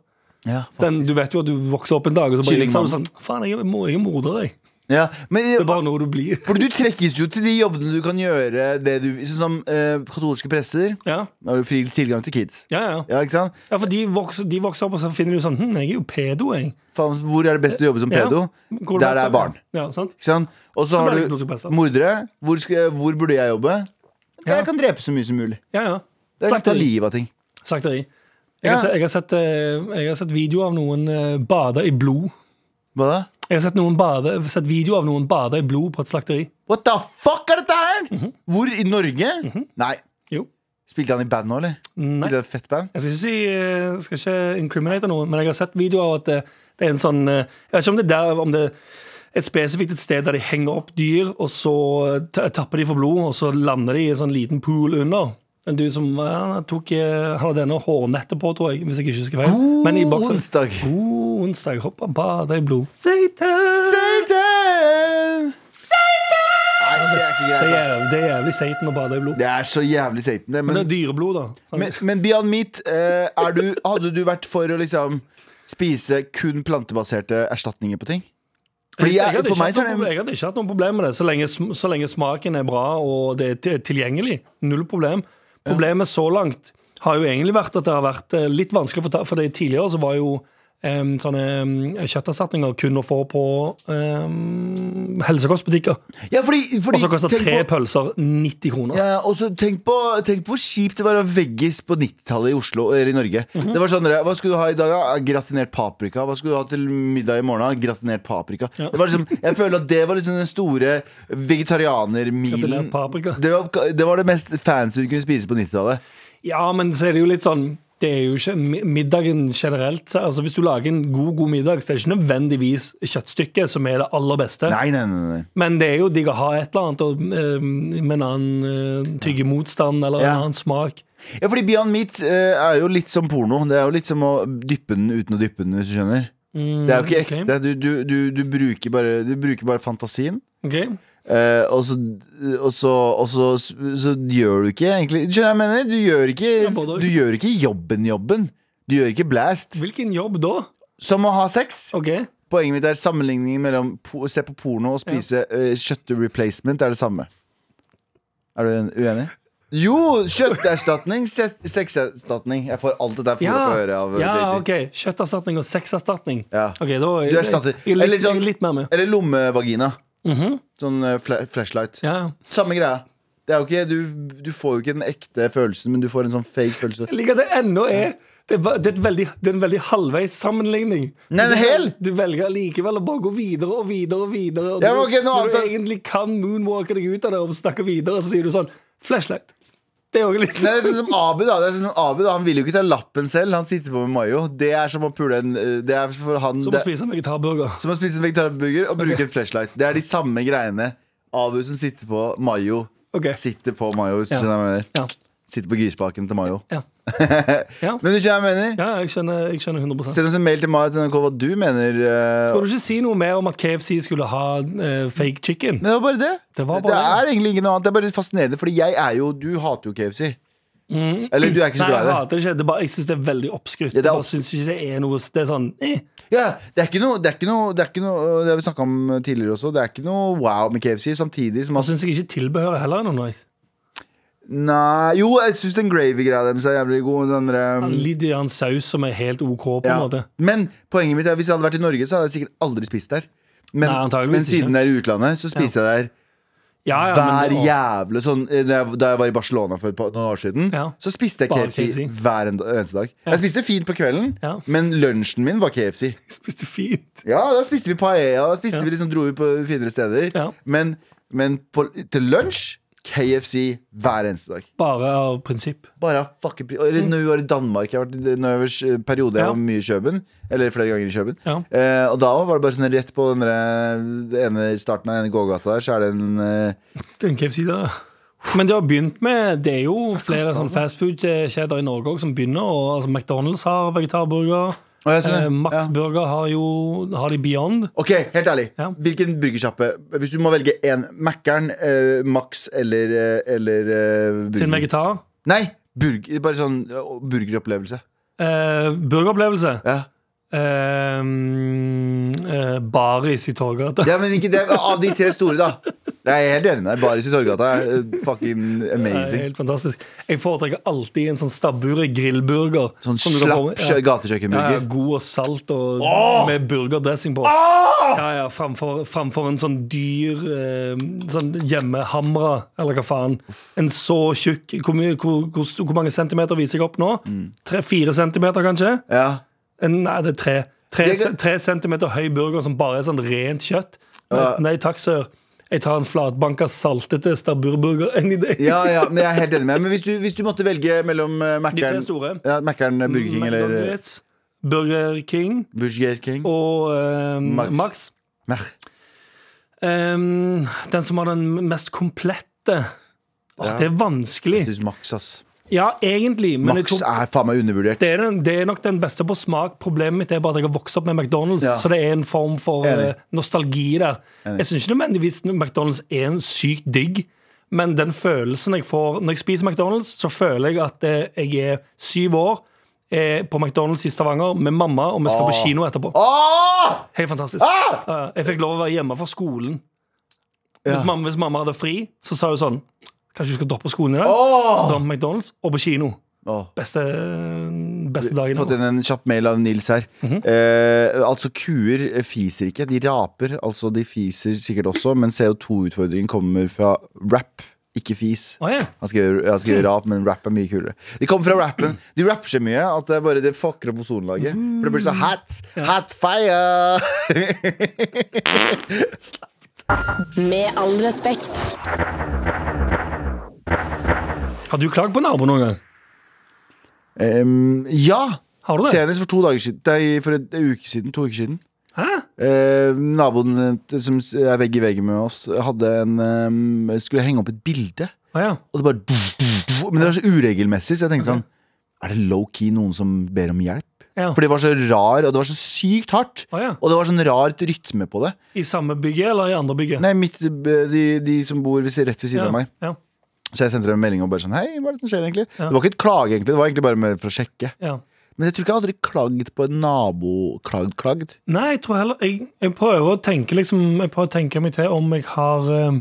B: ja, faen.
C: Den, du vet jo at du vokser opp en dag, og så bare
B: Kyllingmann.
C: innser du sånn Faen, jeg, er- må- jeg er morder, jeg.
B: ja, men, eh,
C: Det er bare noe du blir. [laughs]
B: For du trekkes jo til de jobbene du kan gjøre det du Sånn som eh, katolske prester.
C: Ja,
B: Da har du fri tilgang til kids.
C: ja, ja.
B: Ja, ikke sant?
C: ja for de vokser, de vokser opp, og så finner de jo sånn Hm, jeg er jo pedo, jeg.
B: Faen, hvor er det best å jobbe som
C: Ja.
B: pedo?
C: Går
B: Der det
C: best,
B: er barn.
C: Ja, sant?
B: Ikke sant? Og så har
C: Da blir
B: du
C: det ikke noe som passer.
B: mordere. Hvor, skal, jeg- hvor burde jeg jobbe?
C: Ja.
B: Jeg kan drepe så mye som mulig.
C: Ja, ja.
B: Jeg kan ta
C: Slakteri.
B: livet av ting.
C: Slakteri. Jeg,
B: Ja.
C: har sett, jeg, har sett, eh, jeg har sett video av noen eh, bade i blod.
B: Hva da?
C: Jeg har sett, noen bade, sett video av noen bade i blod på et slakteri.
B: What the fuck er dette her?!
C: Mhm.
B: Hvor? I Norge? Nei.
C: Jo.
B: Spilte han i band nå, eller?
C: Mhm. Nei.
B: Spilte han i fett band?
C: Jeg skal ikke, si, eh, skal ikke incriminate noen, men jeg har sett videoer av at det, det er en sånn eh, Jeg vet ikke om det er der, om det er et spesifikt et sted der de henger opp dyr, og så eh, ta- tapper de for blod, og så lander de i en sånn liten pool under. En du som eh, han tok eh, Han hadde denne hårnettet på, tror jeg, hvis jeg ikke husker feil. men i
B: God
C: boksen.
B: onsdag!
C: God onsdag. Hoppa, bada i blod. Satan!
B: Satan! Nei, det er ikke
C: Det er,
B: greit. Ass.
C: jævlig, det er jævlig Satan å bade i blod.
B: Det er så jævlig Satan, det.
C: Men
B: Men,
C: det er dyreblod, da. Sånn.
B: men, men beyond meat, eh, er du, hadde du vært for å liksom spise kun plantebaserte erstatninger på ting? Fordi
C: jeg,
B: jeg,
C: hadde
B: for
C: ikke
B: meg
C: hatt
B: så
C: noe
B: er det
C: problem- jeg hadde ikke hatt noen problem med det, så lenge, sm- så lenge smaken er bra og det er til- tilgjengelig. Null problem. Problemet så langt har jo egentlig vært at det har vært eh, litt vanskelig å få ta For det tidligere så var jo em, sånne em, kjøtterstatninger kun å få på em, helsekostbutikker.
B: Ja, fordi, fordi
C: Og så koster
B: tenk
C: tre
B: på,
C: pølser 90 kroner.
B: ja, og så tenk, på, tenk på hvor kjipt det var å ha veggis på 90-tallet i Oslo Eller i Norge.
C: Mhm.
B: Det var sånn, Hva skulle du ha i dag? da? Gratinert paprika. Hva skulle du ha til middag i morgen? da? Gratinert paprika. Det var liksom, jeg føler at det var liksom den store
C: Gratinert
B: vegetarianermilen.
C: paprika.
B: Det var, det var det mest fancy du kunne spise på 90-tallet.
C: Ja, men så er det jo litt sånn det er jo ikke mi- middagen generelt. så- Altså Hvis du lager en god god middag, så er det ikke nødvendigvis kjøttstykket som er det aller beste.
B: Nei, nei, nei, nei.
C: Men det er jo digg å ha et eller annet og, eh, med en annen eh, tygge motstand eller
B: Ja.
C: en annen smak.
B: Ja, fordi Beyond Meat eh, er jo litt som porno. Det er jo litt som å dyppe den uten å dyppe den, hvis du skjønner.
C: Mm,
B: Det er jo ikke
C: ok.
B: ekte. Du, du, du, du, bruker bare, du bruker bare fantasien.
C: Ok?
B: Eh, og så, og så, og så, så gjør du ikke egentlig Du skjønner hva jeg mener? Du gjør ikke,
C: både og.
B: du gjør ikke jobben jobben. Du gjør ikke blast.
C: Hvilken jobb da?
B: Som å ha sex.
C: Ok,
B: Poenget mitt er sammenligningen mellom po se på porno og spise eh, kjøtt-replacement er det samme. Er du en- uenig? Jo! Kjøtterstatning, se- sexerstatning. Jeg får alt dette her
C: ja,
B: ja. på øret av eh,
C: ja
B: JT.
C: ok Kjøtterstatning og sexerstatning.
B: Ja.
C: Ok, da er
B: Du
C: jeg,
B: erstatter.
C: jeg, jeg, er
B: Eller
C: litt,
B: sånn-
C: jeg er litt mer med.
B: Eller lommevagina.
C: Mhm.
B: Sånn eh, fla flashlight.
C: Ja.
B: Samme greia. Det er jo ikke, du, du får jo ikke den ekte følelsen, men du får en sånn fake følelse.
C: Jeg liker at det ennå er det er, ba- det, er et veldig, det er en veldig halvveis sammenligning.
B: Nei,
C: Du
B: en hel!
C: Du velger likevel å bare gå videre og videre og videre. Og
B: Ja,
C: du,
B: men ok, nå
C: når du
B: antar-
C: egentlig kan moonwalke deg ut av det og snakke videre, så sier du sånn Flashlight. Det er òg litt
B: Nei, det er sånn som Abu da, det er sånn som Abu da Han vil jo ikke ta lappen selv, han sitter på med mayo. Det er som å pule en eh, Det er for han
C: som å
B: det,
C: spise en vegetarburger.
B: Som å spise en vegetarburger og bruke en flashlight. Det er de samme greiene. Abu som sitter på mayo.
C: Ok.
B: Sitter på mayo, hvis du skjønner hva jeg mener.
C: Ja.
B: Sitter på grisbaken til mayo.
C: Ja. ja.
B: Men du skjønner hva jeg mener?
C: ja, jeg skjønner, jeg skjønner 100
B: Send oss en mail til maratnrk hva du mener. eh,
C: Skal du ikke si noe mer om at KFC skulle ha eh, fake chicken?
B: men det var bare det.
C: Det var bare det.
B: er egentlig ikke noe annet. Det er bare fascinerende, fordi jeg er jo Du hater jo KFC. Eller du er ikke
C: Mm.
B: så
C: Nei, jeg
B: glad i det.
C: hater det ikke. Det er bare, jeg syns det er veldig oppskrytt.
B: Ja, det er
C: Jeg bare
B: oppskrytt.
C: synes ikke det er noe Det er sånn eh.
B: Ja, det er ikke noe Det er ikke noe Det, er ikke noe, det har vi snakka om tidligere også. Det er ikke noe wow med KFC, samtidig som
C: Jeg
B: at
C: syns jeg ikke tilbehøret heller er noe nice.
B: Nei Jo, jeg syns den gravy-greia deres er jævlig god. Den der, um,
C: Litt i en saus som er helt OK, på en
B: ja.
C: måte.
B: Men poenget mitt er hvis jeg hadde vært i Norge, så hadde jeg sikkert aldri spist der. Men,
C: Nei, antageligvis
B: men siden
C: ikke.
B: det er i utlandet, så spiser jeg der
C: Ja, ja,
B: hver
C: men,
B: jævle sånn, eh, da jeg- Da jeg var i Barcelona for et par noen år siden,
C: Ja.
B: så spiste jeg
C: Bare
B: KFC,
C: KFC.
B: hver en, eneste dag. Jeg spiste fint på kvelden,
C: Ja.
B: men lunsjen min var KFC.
C: Jeg spiste fint.
B: Ja, da spiste vi paella, da spiste
C: Ja.
B: vi liksom, dro vi på finere steder.
C: Ja.
B: Men, men på, til lunsj KFC hver eneste dag.
C: Bare av prinsipp.
B: Bare fucking pri- Eller når vi var i Danmark Jeg har vært i den øvers- periode jeg
C: Mm. Ja.
B: var mye i Kjøben Eller flere ganger i Kjøben
C: Ja.
B: eh, Og da var det bare sånn rett på den der, det ene starten av den gågata der Så er det en eh,
C: Den KFC der. Men det har begynt med Det er jo flere sånn fastfood-kjeder i Norge også som begynner. Og, altså, McDonald's har vegetarburger.
B: Å, jeg skjønner.
C: Eh, Max
B: Ja.
C: Burger har jo Har de Beyond.
B: Ok, helt ærlig
C: Ja.
B: Hvilken burgersjappe? Hvis du må velge en Mac'eren, eh, Max eller, eh, eller eh,
C: Sin
B: burger
C: vegetar.
B: Nei, burger, bare sånn eh, burgeropplevelse
C: Eh, burgeropplevelse.
B: ja.
C: Eh, eh, Baris i Torgata.
B: ja, men ikke det Av de tre store da Jeg er helt enig med deg Baris i Torgata er eh, Fucking
C: Det er
B: amazing
C: Helt fantastisk. Jeg foretrekker alltid en sånn stabbure grillburger.
B: Sånn
C: som du kan få
B: slapp
C: med- ja.
B: kjø- gatekjøkkenburger
C: Ja, ja, god og salt og med burgerdressing på. Ja, ja, framfor, framfor en sånn dyr eh, sånn hjemmehamra, eller hva faen. En så tjukk Hvor, mye, hvor, hvor, st- hvor mange centimeter viser jeg opp nå?
B: Mm.
C: Tre-fire centimeter, kanskje?
B: Ja
C: En, nei, det er tre. Tre,
B: Det er
C: ce-
B: gre-
C: tre centimeter høy burger som bare er sånn rent kjøtt. Nei, nei takk, sir. Jeg tar en flatbanka saltete stabburburger any day.
B: Ja, ja, men jeg er helt enig med deg. Men hvis du, hvis du måtte velge mellom uh,
C: De tre
B: Mækkern
C: store. Mm,
B: ja, Mækkern, Burger King eller eh,
C: McDonald's, Burger King
B: Burger King
C: og eh,
B: Max.
C: Max.
B: Mækk.
C: Ehm, den som har den mest komplette Åh,
B: Ja.
C: Det er vanskelig.
B: Jeg synes Max, ass.
C: Ja, egentlig, men jeg
B: Max
C: tok,
B: er faen meg undervurdert.
C: det, er den, det er nok den beste på smak. Problemet mitt er bare at jeg har vokst opp med McDonald's,
B: Ja.
C: så det er en form for
B: Enig.
C: eh, nostalgi der. Jeg syns ikke nødvendigvis McDonald's er en sykt digg, men den følelsen jeg får når jeg spiser McDonald's, så føler jeg at eh, jeg er syv år. eh, På McDonald's i Stavanger med mamma, og vi skal på kino etterpå.
B: Åh!
C: Helt fantastisk.
B: Ah!
C: Ja, Jeg fikk lov å være hjemme fra skolen.
B: Ja.
C: Hvis, mamma, hvis mamma hadde fri, så sa hun sånn Kanskje du skal droppe skolen i dag? Så
B: Åh!
C: dra på McDonald's og på kino.
B: Åh.
C: Beste, eh, beste dagen.
B: Fått inn en kjapp mail av Nils her.
C: Mhm.
B: eh, altså, kuer fiser ikke. De raper. Altså, de fiser sikkert også, men CO2-utfordringen kommer fra rap, ikke fis.
C: Å, ja.
B: Han skriver, han skriver rap, men rap er mye kulere. De kommer fra rappen. De rapper så mye at det er bare det fucker opp ozonlaget. For det blir så hot, hot fire!
D: Med all respekt.
C: Har du klagd på naboen noen gang?
B: Em, ja!
C: Har du det?
B: Senest for to dager siden. Nei, for en uke siden. To uker siden.
C: Hæ?
B: Eh, naboen eh, som s- er vegg i vegg med oss, hadde en em, skulle henge opp et bilde.
C: Å, ja.
B: Og det bare Men det var så uregelmessig, så jeg tenkte sånn Er det low-key noen som ber om hjelp?
C: Ja.
B: For det var så rar, og det var så sykt hardt.
C: Å, ja.
B: Og det var sånn rart rytme på det.
C: I samme bygget eller i andre bygget?
B: Nei, mitt, de, de som bor ved, si- rett ved siden
C: ja.
B: av meg.
C: Ja.
B: Så jeg sendte dem en melding og bare sånn Hei, hva er det som skjer egentlig? Det var ikke et klage, egentlig. Det var egentlig bare med, for å sjekke.
C: Ja.
B: Men jeg tror ikke jeg hadde klagd på en nabo klagd, klagd.
C: Nei, jeg tror heller jeg, jeg prøver å tenke liksom Jeg prøver å tenke meg til om jeg har eh,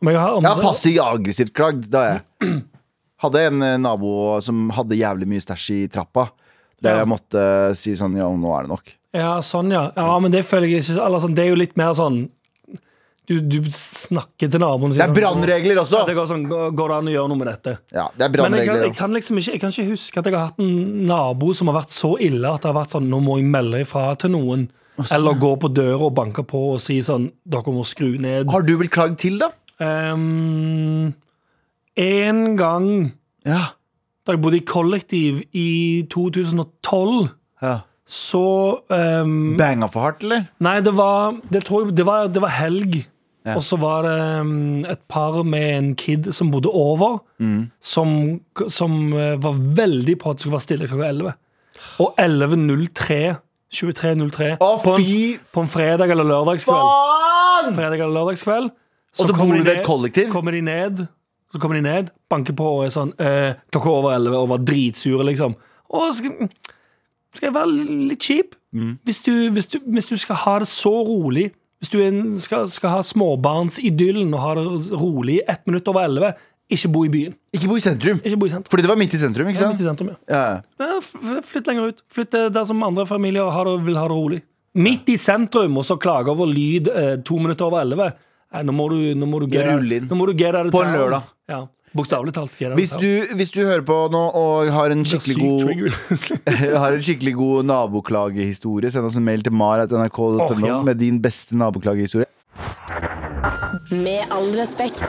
C: Om jeg har
B: Ja,
C: andre
B: passiv aggressivt klagd, da jeg.
C: [clears throat]
B: Hadde en eh, nabo som hadde jævlig mye stæsj i trappa. Der
C: Ja.
B: jeg måtte si sånn Ja, nå er det nok.
C: Ja, sånn, ja. Ja, men det føler jeg ikke Eller sånn, det er jo litt mer sånn Du, du snakker til naboen
B: Det
C: og sier
B: er
C: sånn,
B: brannregler også!
C: Ja, det går sånn, går går det an å gjøre noe med dette?
B: Ja, det er
C: Men jeg kan,
B: brannregler.
C: jeg, kan liksom ikke, jeg kan ikke huske at jeg har hatt en nabo som har vært så ille at det har vært sånn Nå må jeg melde ifra til noen. Eller gå på døra og banke på og si sånn Dere må skru ned.
B: Har du blitt klagd til, da?
C: Ehm, en gang
B: Ja.
C: da jeg bodde i kollektiv i 2012,
B: ja.
C: så ehm,
B: Banga for hardt, eller?
C: Nei, det var Det, tror jeg, det, var, det var helg. Og så var det ehm, et par med en kid som bodde over,
B: Mm.
C: som, som eh, var veldig på at det skulle være stille klokka 11. Og 11.03 23.03
B: Å,
C: på, en-
B: fy
C: på en fredag eller lørdagskveld.
B: Faen!
C: Fredag eller lørdagskveld
B: Og så
C: kommer
B: bor
C: de
B: du ved
C: ned-
B: et kollektiv?
C: Kommer de ned, så kommer de ned, banker på og er sånn eh, Klokka er over 11 og var dritsure, liksom. Å, skal, skal jeg være litt kjip?
B: Mm.
C: Hvis, du, hvis, du, hvis du skal ha det så rolig Hvis du er en, skal, skal ha småbarnsidyllen og ha det rolig ett minutt over 11 Ikke bo i byen.
B: Ikke bo i sentrum.
C: Ikke bo i sentrum.
B: Fordi det var midt i sentrum, ikke sant?
C: Midt i sentrum, ja.
B: Ja.
C: Ja, f- Flytt lenger ut. Flytt eh, der som andre familier har det, vil ha det rolig. Midt i sentrum, og så klage over lyd eh, to minutter over elleve. Nei, nå må du, nå må du get out-
B: Rull inn.
C: Nå må du get out of
B: På en
C: town.
B: lørdag.
C: Ja. Bokstavelig talt. get out of
B: Hvis,
C: town.
B: du, hvis du hører på nå og har en
C: Det er
B: skikkelig
C: sykt
B: [laughs] god
C: trigger. [laughs]
B: har en skikkelig god naboklagehistorie, send oss en mail til mar.nrk.no
C: Åh, ja.
B: med din beste naboklagehistorie.
D: Med all respekt.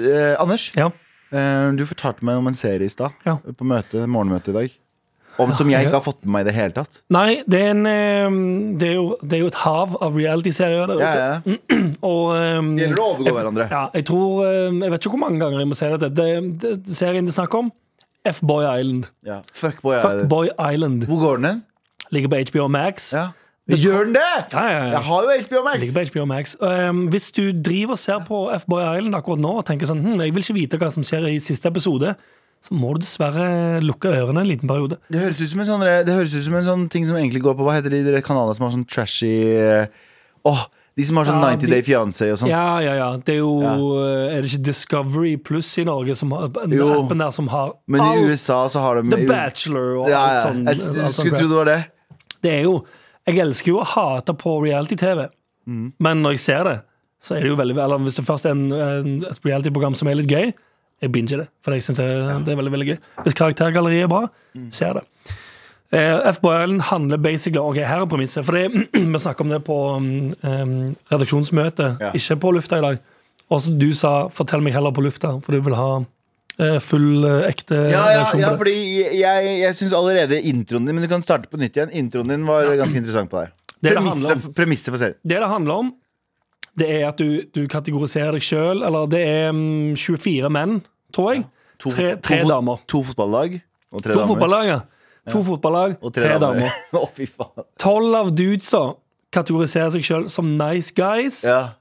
B: Eh, Anders,
C: ja.
B: eh, du fortalte meg om en serie i stad.
C: Ja. Ah,
B: På møte, morgenmøte i dag. Om, som jeg
C: ja.
B: ikke har fått med meg i det hele tatt.
C: Nei, det er, en, eh, det, er jo, det er jo et hav av reality-serier der ute.
B: Ja, ja.
C: Og, eh,
B: Det gjelder å overgå hverandre.
C: Ja, jeg tror eh, Jeg vet ikke hvor mange ganger jeg må si dette. Det, det, serien det er snakk om, F-Boy Island.
B: Ja. Fuckboy er det.
C: Fuckboy Island.
B: Hvor går den hen?
C: Ligger på HBO Max.
B: Ja. Gjør den det?!
C: Ja, ja, ja.
B: Jeg har jo HBO Max!
C: Ligger på HBO Max. Um, hvis du driver og ser på F-Boy Island akkurat nå og tenker sånn hm, jeg vil ikke vite hva som skjer i siste episode, så må du dessverre lukke ørene en liten periode.
B: Det høres ut som en sånn, det høres ut som en sånn ting som egentlig går på Hva heter de, de kanalene som har sånn trashy eh, Åh, de som har sånn
C: Ja,
B: 90
C: de-
B: Day Fiancé og sånn.
C: Ja, ja, ja. Det er jo eh, Er det ikke Discovery Pluss i Norge som har den
B: Jo.
C: appen der som har
B: Men i
C: alt?
B: USA så har de
C: The Bachelor og
B: Ja,
C: alt
B: ja.
C: sånn.
B: Jeg,
C: alt
B: jeg
C: sånn
B: skulle tro
C: crap.
B: det var det.
C: Det er jo Jeg elsker jo å hate på reality-TV, men når jeg ser det, så er det jo veldig Eller hvis det først er en, en, et reality-program som er litt gøy, jeg binger det. For jeg synes det, det er veldig, veldig gøy. Hvis karaktergalleriet er bra,
B: Mm.
C: ser jeg det. Eh, FBL handler basically Ok, her er premisset. For det, [clears throat] vi snakket om det på mm, eh, redaksjonsmøtet,
B: Ja.
C: ikke på lufta i dag. Og så du sa 'fortell meg heller på lufta', for du vil ha eh, full eh, ekte
B: Ja, ja,
C: reaksjon
B: ja
C: på det.
B: fordi jeg, jeg syns allerede introen din Men du kan starte på nytt igjen. Introen din var ganske interessant på det her.
C: Det det handler
B: Premisset
C: om.
B: premisset for serien.
C: Det det handler om, det er at du, du kategoriserer deg sjøl, eller det er mm, 24 menn, tror jeg.
B: To-
C: Tre, tre
B: to fot-
C: damer.
B: To fotballag og tre
C: To
B: damer.
C: fotballag, ja. To fotballag,
B: Og
C: tre damer.
B: [laughs] Å, fy faen.
C: Tolv av dudesa kategoriserer seg sjøl som nice guys,
B: Ja.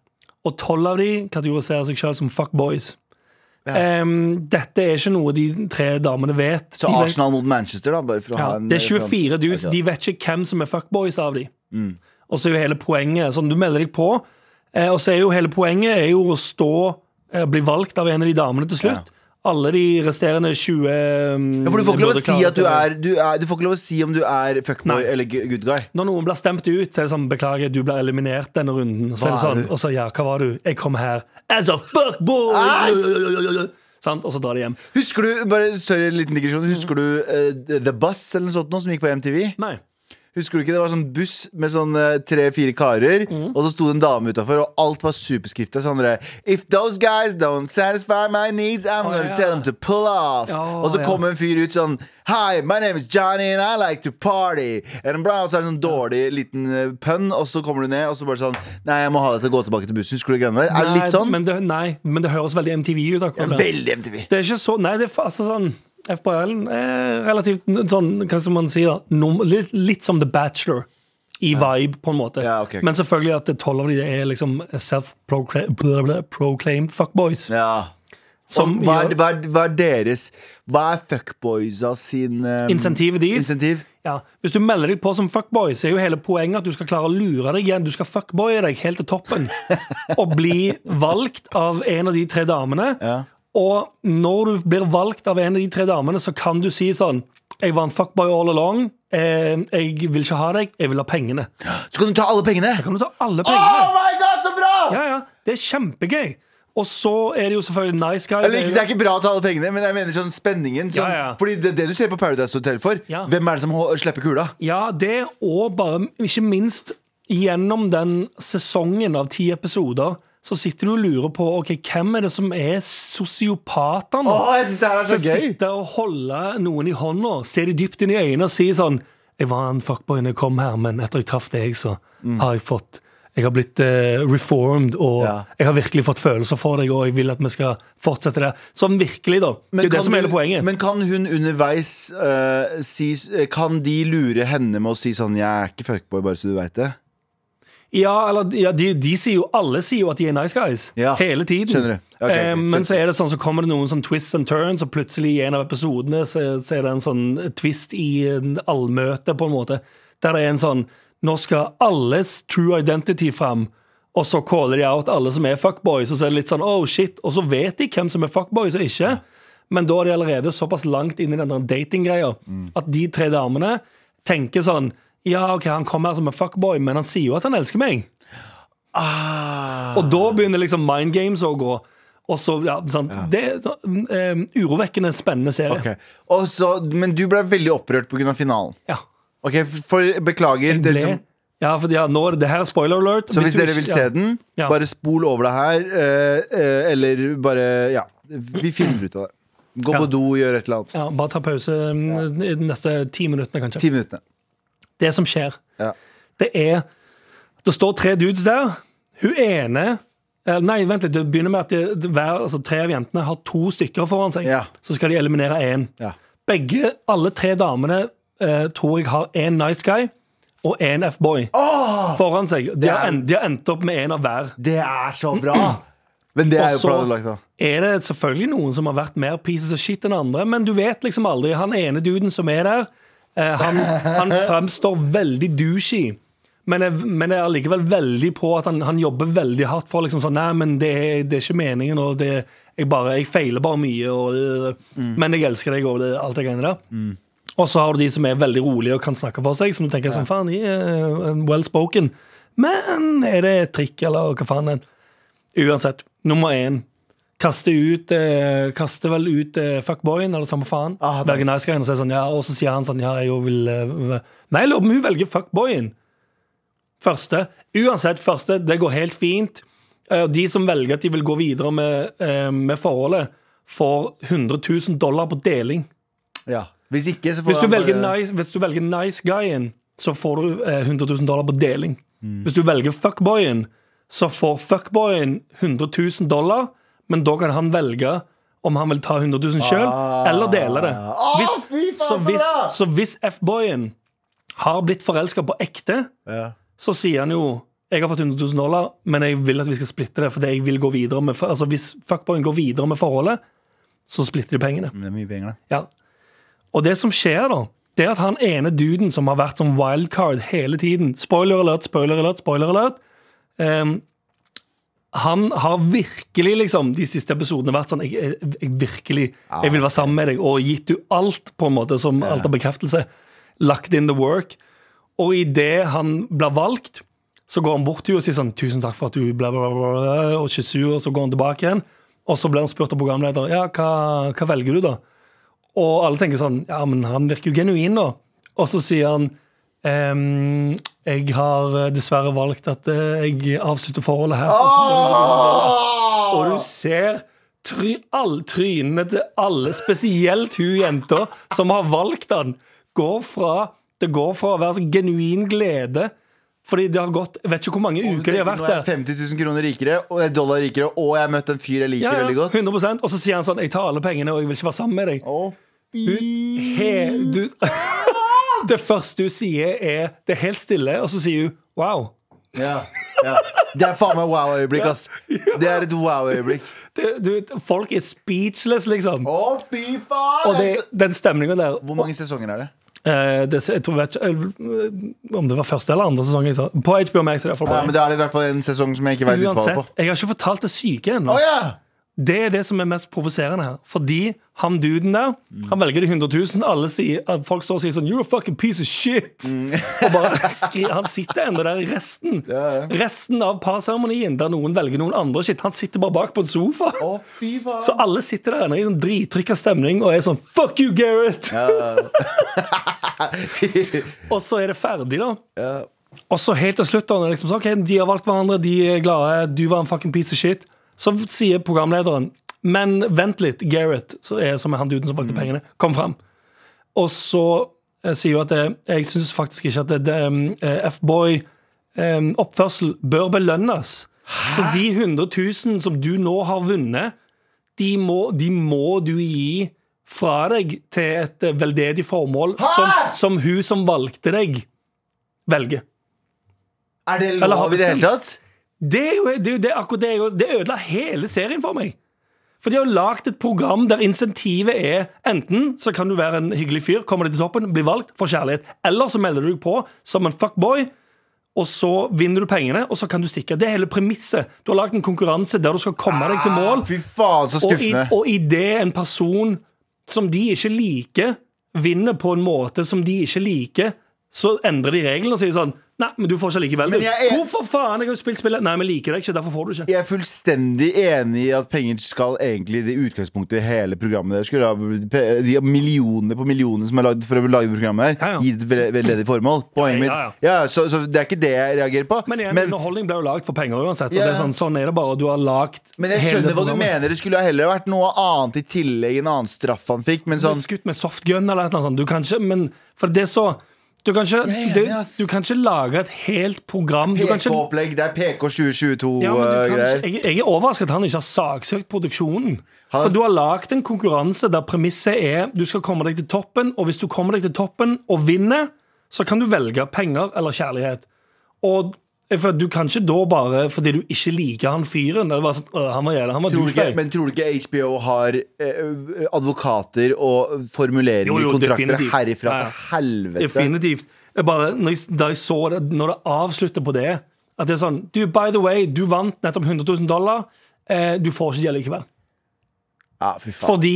C: og tolv av de kategoriserer seg sjøl som fuckboys. Em, dette er ikke noe de tre damene vet.
B: Så
C: de vet,
B: Arsenal mot Manchester, da. Bare for å
C: ja,
B: ha en eh, Altså.
C: det er 24
B: referanse.
C: dudes.
B: Ok.
C: De vet ikke hvem som er fuckboys av de.
B: Mm.
C: Og så er jo hele poenget sånn, Du melder deg på, eh, og så er jo hele poenget er jo å stå eh, bli valgt av en av de damene til slutt. Alle de resterende mm, 20
B: Ja, for du får ikke lov å si at du er Du, er, du får ikke lov å si om du er fuckboy
C: Nei.
B: eller gu- good guy.
C: Når noen blir stemt ut, så er det sånn Beklager, du ble eliminert denne runden. Og så
B: Hva
C: er det
B: er
C: sånn,
B: du?
C: og så ja, hva var du? Jeg kom her as a fuckboy!
B: Ass!
C: Sant? Og så drar de hjem.
B: Husker du bare, sorry, en liten digresjon Husker du eh, The Bus eller noe sånt nå, som gikk på MTV?
C: Nei.
B: Husker du ikke det var sånn buss med sånn tre-fire karer,
C: Mhm.
B: og så sto det en dame utafor, og alt var superskrifta. Sånn derre If those guys don't satisfy my needs, I'm
C: Å,
B: gonna
C: ja.
B: tell them to pull off.
C: Ja,
B: og så
C: ja.
B: kom en fyr ut sånn Hi, my name is Johnny, and I like to party. And bra, og så er det sånn dårlig liten eh, pønn, og så kommer du ned, og så bare sånn Nei, jeg må ha deg til å gå tilbake til bussen. Husker du de greiene der? Er det
C: Nei,
B: litt sånn?
C: Men det, nei, men det høres veldig MTV ut. akkurat det.
B: Veldig MTV.
C: Det er ikke så Nei, det er fa- altså sånn FBL er relativt n- sånn, hva skal man si da Nom, litt, litt som The Bachelor i vibe, på en måte.
B: Ja, ok, ok.
C: Men selvfølgelig at tolv av de er liksom self-proclaimed fuckboys.
B: Ja
C: Som
B: hva, er,
C: gjør-
B: hva, er, hva er deres Hva er fuckboysa sin um,
C: Insentiv deres?
B: Insentiv?
C: ja, Hvis du melder deg på som fuckboy, så er jo hele poenget at du skal klare å lure deg igjen. Du skal fuckboye deg helt til toppen og bli valgt av en av de tre damene.
B: Ja.
C: Og når du blir valgt av en av de tre damene, så kan du si sånn Jeg var en fuckboy all along. Eh, jeg vil ikke ha deg. Jeg vil ha pengene.
B: Så kan du ta alle pengene!
C: Kan du ta alle
B: Oh
C: pengene?
B: my god, så bra!
C: Ja, ja, Det er kjempegøy. Og så er det jo selvfølgelig nice guys.
B: Eller, ikke- det er ikke bra å ta alle pengene, men jeg mener sånn spenningen. Sånn,
C: Ja, ja.
B: Fordi det, det du ser på Paradise Hotel for,
C: Ja.
B: hvem er det som hå- slipper kula?
C: Ja, det og bare, ikke minst gjennom den sesongen av ti episoder, så sitter du og lurer på ok, hvem er det som er sosiopater nå?
B: Åh, jeg synes det her er så
C: Til å
B: gøy!
C: Sitte og holde noen i hånda, se de dypt inn i øynene og si sånn Jeg var en fuckboy da jeg kom her, men etter jeg traff deg, så
B: Mm.
C: har jeg fått Jeg har blitt eh, reformed, og
B: Ja.
C: jeg har virkelig fått følelser for deg, og jeg vil at vi skal fortsette det. Sånn virkelig, da. det er jo det
B: kan
C: som er hele
B: du-
C: poenget.
B: men kan hun underveis eh, si Kan de lure henne med å si sånn 'Jeg er ikke fuckboy, bare så du veit det'?
C: Ja, eller ja, de, de sier jo, alle sier jo at de er nice guys.
B: Ja,
C: Hele tiden.
B: skjønner du. Ok, ok,
C: Eh, men
B: skjønner.
C: så er det sånn, så kommer det noen sånn twists and turns, og plutselig i en av episodene så, så er det en sånn twist i en allmøte, på en måte. Der det er en sånn Nå skal alles true identity fram. Og så caller de out alle som er fuckboys, og så er det litt sånn oh shit. Og så vet de hvem som er fuckboys og ikke. Men da er de allerede såpass langt inn i den der datinggreia at de tre damene tenker sånn Ja, OK, han kom her som en fuckboy, men han sier jo at han elsker meg. Og da begynner liksom mind games å gå. Og så, ja, sant? Det er så- mm, eh, urovekkende spennende serie.
B: Ok. Og så- men du ble veldig opprørt pga. finalen.
C: Ja.
B: Ok, for, Beklager.
C: Ble,
B: Det som,
C: ja, for ja, nå er det- det her er spoiler alert.
B: så hvis
C: du
B: dere
C: ikke-
B: vil se
C: ja.
B: den,
C: Ja.
B: bare spol over det her. eh, eh, eller bare Ja. Vi finner ut av det. Gå
C: Ja.
B: på do, gjør et eller annet.
C: Ja, bare ta pause mm, i de neste ti minuttene, kanskje.
B: Ti minuttene.
C: Det som skjer,
B: Ja.
C: det er Det står tre dudes der. Hun ene eh, Nei, vent litt. Det begynner med at de, de, hver, altså, tre av jentene har to stykker foran seg.
B: Ja.
C: Så skal de eliminere én.
B: Ja.
C: Begge, alle tre damene eh, tror jeg har én nice guy og én F-boy foran seg. De har, en, de har endt opp med én av hver.
B: Det er så bra! Men det er jo
C: Og så-
B: planlagt, da.
C: er det selvfølgelig noen som har vært mer pieces of shit enn andre, men du vet liksom aldri. Han ene duden som er der, eh, han, han fremstår veldig douchey. Men er, men er allikevel veldig på at han, han jobber veldig hardt for liksom sånn Nei, men det, er- det er ikke meningen, og det, jeg, bare, jeg feiler bare mye, og, øh, men jeg elsker deg og det, alt det greiene der. Og så har du de som er veldig rolige og kan snakke for seg, som du tenker sånn Faen, de er eh, well spoken. Men er det et trikk, eller hva faen? er det? Uansett. Nummer én. Kaste ut eh, Kaste vel ut eh, fuckboyen, eller samme faen.
B: Ah, nice.
C: velger nice guyen og sier sånn, ja, og så sier han sånn Ja, jeg jo vil eh, v- Nei, jeg lurer på om hun velger fuckboyen. Første. Uansett, første. Det går helt fint. Eh, og De som velger at de vil gå videre med, eh, med forholdet, får 100 000 dollar på deling.
B: Ja. Hvis ikke, så får
C: Hvis du
B: han
C: velger
B: bare-
C: nice, hvis du velger nice guyen, så får du eh, 100 000 dollar på deling.
B: Mm.
C: Hvis du velger fuckboyen, så får fuckboyen 100 000 dollar, men da kan han velge om han vil ta 100 000 sjøl, eller dele det.
B: Ah, fy faen,
C: så
B: så
C: hvis,
B: bra!
C: så hvis F-boyen har blitt forelska på ekte,
B: Ja.
C: så sier han jo jeg har fått 100 000 dollar, men jeg vil at vi skal splitte det. Fordi jeg vil gå videre med, altså Hvis fuckboyen går videre med forholdet, så splitter de pengene.
B: Men Det er mye penger, da.
C: Ja. Og det som skjer da, det er at han ene duden som har vært som wildcard hele tiden Spoiler alert, spoiler alert, spoiler alert. ehm, han har virkelig liksom de siste episodene vært sånn jeg, jeg, jeg virkelig, jeg vil være sammen med deg, og gitt du alt, på en måte, som alt av bekreftelse. Lagt in the work. Og idet han blir valgt, så går han bort til henne og sier sånn 'Tusen takk for at du bla, bla, bla, bla, og kysser henne, og så går han tilbake igjen. Og så blir han spurt av programleder ja, hva, hva velger du, da? Og alle tenker sånn Ja, men han virker jo genuin, da. Og så sier han ehm, Jeg har eh, dessverre valgt at eh, jeg avslutter forholdet her. Og tar- Og du ser try, all, trynene til alle, spesielt hun jenta som har valgt han, går fra Det går fra å være så genuin glede fordi det har gått Jeg vet ikke hvor mange uker de har vært
B: Nå er jeg
C: der.
B: 50 000 kroner rikere, og jeg er dollar rikere, og jeg har møtt en fyr jeg liker
C: Ja, ja,
B: veldig godt.
C: 100 Og så sier han sånn Jeg tar alle pengene, og jeg vil ikke være sammen med deg.
B: Å, fy
C: he, du, [laughs] Det første hun sier er Det er helt stille, og så sier hun Wow
B: Ja, ja. Det er faen meg wow-øyeblikk, ass. Det er et wow-øyeblikk.
C: det, du, Folk er speechless liksom
B: Å, fy faen!
C: Og det, den stemningen der
B: Hvor mange sesonger er det?
C: eh, det, Jeg tror jeg vet ikke eh, Om det var første eller andre sesong jeg sa. På HBO Max er det i hvert
B: Ja,
C: fall bare
B: men Da er det i hvert fall en sesong som jeg ikke vet utfallet på.
C: Uansett, jeg har ikke fortalt det syke ennå
B: Å ja!
C: Det er det som er mest provoserende her. Fordi han duden der, han velger de 100 000. Alle sier, at folk står og sier sånn You're a fucking piece of shit!
B: Mm.
C: og bare skri, Han sitter ennå der i resten.
B: Ja,
C: Resten av parseremonien, der noen velger noen andre shit. Han sitter bare bak på en sofa.
B: Å, fy faen!
C: Så alle sitter der inne i en drittrykka stemning og er sånn Fuck you, Gareth! [laughs] og så er det ferdig, da.
B: Ja.
C: Og så helt til slutt, da, når det liksom, så, ok, de har valgt hverandre, de er glade, du var en fucking piece of shit. Så sier programlederen Men vent litt, Gareth, så er, som er han duden som valgte pengene, kom fram. Og så eh, sier hun at eh, jeg syns faktisk ikke at det, det um, eh, F-boy um, oppførsel bør belønnes. Så de 100 000 som du nå har vunnet, de må, de må du gi fra deg til et eh, veldedig formål som, som hun som valgte deg, velger.
B: Er det
C: Eller har
B: lov i det
C: bestemt.
B: hele tatt?
C: Det er jo det, er jo det, akkurat det, er jo- det ødela hele serien for meg. For de har lagd et program der insentivet er enten så kan du være en hyggelig fyr, kommer deg til toppen, blir valgt, får kjærlighet, eller så melder du deg på som en fuckboy og så vinner du pengene, og så kan du stikke. Det er hele premisset. Du har lagd en konkurranse der du skal komme deg til mål.
B: Fy faen, så
C: Og, i,
B: skuffende.
C: og i det en person som de ikke liker, vinner på en måte som de ikke liker, så endrer de reglene og sier sånn Nei, men du får ikke likevel.
B: Men
C: du.
B: jeg er-
C: Hvorfor faen? Jeg har jo spilt spillet. Nei, vi liker deg ikke, derfor får du ikke.
B: Jeg er fullstendig enig i at penger skal egentlig i utgangspunktet i hele programmet der skulle ha pe- De har millioner på millioner som er lagd for å lage det programmet her,
C: Ja, ja.
B: gi det et vel- veldedig formål. Poenget mitt.
C: Ja, ja.
B: Ja, så, så det er ikke det jeg reagerer på.
C: Men, igjen,
B: Men,
C: underholdning ble jo lagd for penger uansett. Og
B: Ja.
C: det er sånn, sånn er det bare. Du har lagt
B: men jeg
C: hele
B: skjønner hva du
C: programmet.
B: mener. Det skulle heller vært noe annet i tillegg, en annen straff han fikk. Men sånn
C: Bli skutt med softgun eller et eller annet sånt. Du kan ikke, men for det er så du kan, ikke,
B: Jeg er enig,
C: det,
B: ass.
C: du kan ikke lage et helt program. Du kan ikke,
B: PK-opplegg. Det er PK
C: ja, men du kan
B: 2022-greier.
C: ikke, jeg, jeg er overrasket at han ikke har saksøkt produksjonen.
B: Han-
C: For Du har lagd en konkurranse der premisset er du skal komme deg til toppen, og hvis du kommer deg til toppen og vinner, så kan du velge penger eller kjærlighet. Og eh, for Du kan ikke da bare fordi du ikke liker han fyren. eller bare sånn, «Åh, han var jævla, han var
B: Tror du ikke,
C: douchebag».
B: men tror du ikke HBO har eh, advokater og formuleringer
C: Jo, jo,
B: i kontrakter
C: definitivt.
B: herifra
C: Ja, ja.
B: til helvete?
C: Definitivt. Jeg bare, når jeg, da jeg så det, når det avslutter på det At det er sånn Du, by the way, du vant nettopp 100 000 dollar. Eh, du får ikke de likevel.
B: Ja, fy faen.
C: Fordi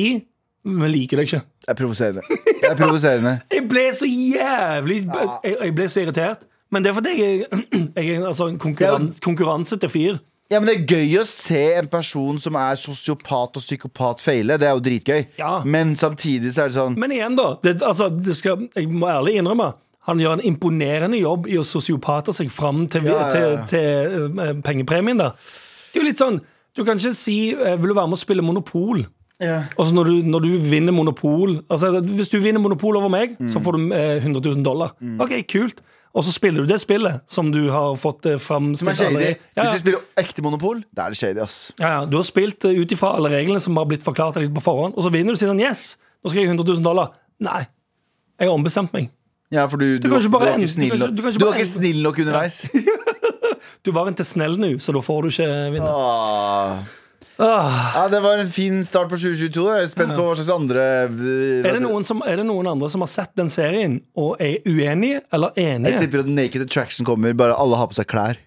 C: vi liker deg ikke.
B: Det er provoserende. Det er provoserende.
C: Jeg ble så jævlig jeg, jeg ble så irritert. Men det er fordi jeg, [clears throat] er- jeg er altså en konkurran, konkurransete fyr.
B: Ja, men det er gøy å se en person som er sosiopat og psykopat feile. Det er jo dritgøy.
C: Ja.
B: Men samtidig så er det sånn
C: Men igjen, da. Det, altså, det skal, jeg må ærlig innrømme. Han gjør en imponerende jobb i å sosiopater seg fram til,
B: Ja, ja, ja.
C: til, til eh, pengepremien. da Det er jo litt sånn Du kan ikke si eh, 'Vil du være med og spille Monopol?' Og så når, du- når du vinner Monopol altså, Hvis du vinner Monopol over meg, så
B: Mm.
C: får du eh, 100 000 dollar. Ok, kult. Og så spiller du det spillet som du har fått eh, fram
B: Som er shady.
C: Ja, ja.
B: Hvis du spiller ekte Monopol, da er det shady, ass.
C: Ja, ja, Du har spilt eh, ut ifra alle reglene som har blitt forklart deg på forhånd, og så vinner du og sier sånn, yes, nå skal jeg gi 100 000 dollar. Nei, jeg har ombestemt meg.
B: Ja, for du, du,
C: kan
B: var-
C: ikke
B: du
C: bare
B: var
C: ende-
B: ikke snill
C: du
B: nok
C: kan ikke- du kan ikke
B: Du var
C: bare
B: ikke
C: ende-
B: snill nok underveis.
C: Du var ikke snill nå, så da får du ikke vinne.
B: Ah.
C: Ah.
B: Ja, det var en fin start på 2022. Jeg er spent på hva slags andre eh,
C: Er det, noen som, er det noen andre som har sett den serien og er uenige eller
B: Jeg
C: enige?
B: tipper at Naked Attraction kommer, bare alle har på seg klær.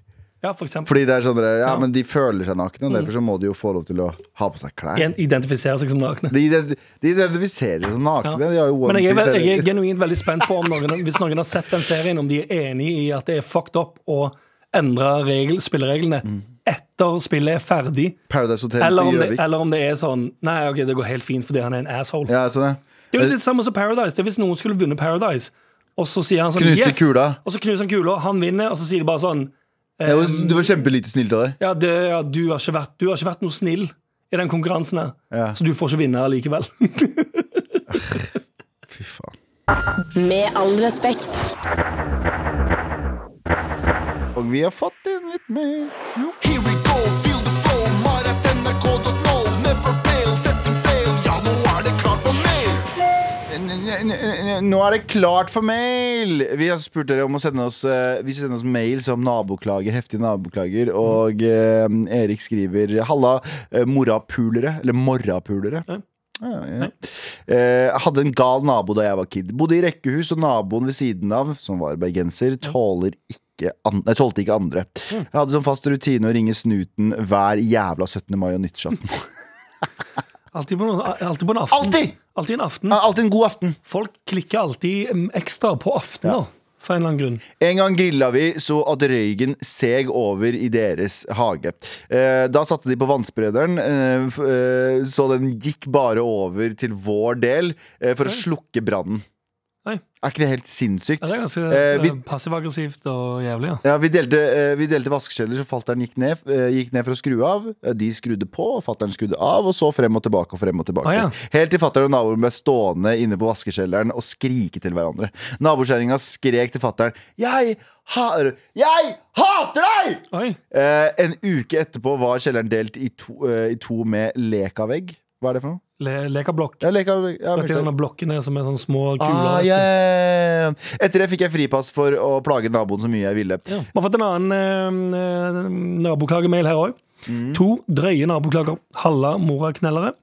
C: Ja, for eksempel.
B: Fordi det er sånn dere- ja, men de føler seg nakne, og derfor så må de jo få lov til å ha på seg klær.
C: Mm. En- Identifisere seg som nakne.
B: De, ident- de identifiserer seg som nakne. De har jo
C: Men jeg er, vel- jeg er
B: One Piece-serier.
C: genuint veldig spent på om noen, hvis noen har sett den serien, om de er enig i at det er fucked up å endre regel, spillereglene
B: Mm.
C: etter spillet er ferdig.
B: Paradise Hotel
C: Eller
B: i
C: om, det,
B: Gjøvik.
C: eller om det er sånn Nei, ok, det går helt fint fordi han er en asshole.
B: Ja, sånn, ja.
C: Det er jo litt det samme som Paradise. Det er Hvis noen skulle vunnet Paradise, og så sier han sånn
B: Knuser
C: yes!
B: kula.
C: Og så knuser han kula, han vinner, og så sier de bare sånn
B: Det var, det
C: Eh,
B: var kjempelite snilt av deg.
C: Ja, det, ja du, har ikke vært, du har ikke vært noe snill i den konkurransen her,
B: Ja.
C: så du får ikke vinne allikevel. [laughs]
B: Fy faen.
D: Med all respekt.
B: Og vi har fått inn litt mer.
E: Here we go, feel the flow. Mar.nrk.no, never fail, setting sail. Ja, nå er det klart for mer.
B: N- n- n- Nå er det klart for mail! Vi har spurt dere om å sende oss eh, Vi skal sende oss mail som naboklager, heftige naboklager. Og eh, Erik skriver 'halla, eh, morapulere'. Eller morrapulere. Ja, ja. Eh, hadde en gal nabo da jeg var kid. Bodde i rekkehus, og naboen ved siden av, som var bergenser, tåler ikke an nei, tålte ikke andre.
C: Mm.
B: Jeg hadde som fast rutine å ringe snuten hver jævla 17. mai og nyttårsaften.
C: Alltid på, noen- alltid på en aften.
B: Alltid!
C: [laughs]
B: Ah.
C: Alltid en aften.
B: Ja, Mm. Alltid en god aften.
C: Folk klikker alltid mm, ekstra på aftener, for en eller annen grunn.
B: En gang grilla vi så at røygen seg over i deres hage. Eh, da satte de på vannsprederen, eh, f- eh, så den gikk bare over til vår del eh, for å slukke brannen.
C: Nei.
B: Er ikke det helt sinnssykt?
C: Ja, det er ganske
B: Eh, vi-
C: eh, passiv-aggressivt og jævlig, ja.
B: Ja, vi delte, eh, vi delte vaskeskjeller, så fattern gikk, ned, eh, gikk ned for å skru av. Eh, De skrudde på, og fattern skrudde av, og så frem og tilbake og frem og tilbake.
C: Ah, ja.
B: Helt til fattern og naboen ble stående inne på vaskeskjelleren og skrike til hverandre. Nabokjerringa skrek til fattern 'Jeg har Jeg hater deg!'
C: Oi.
B: Eh, en uke etterpå var kjelleren delt i to, eh, i to med lekavegg. Hva er det for noe?
C: Le, Lekablokk.
B: Ja, lekavegg. Ja,
C: Vet du,
B: beklager.
C: denne blokkene som er sånn små kuler.
B: Ah, ja, ja, ja. Etter det fikk jeg fripass for å plage naboen så mye jeg ville.
C: Ja. Vi har fått en annen eh, eh, naboklagemail her òg. To drøye naboklager. Halla moraknellere.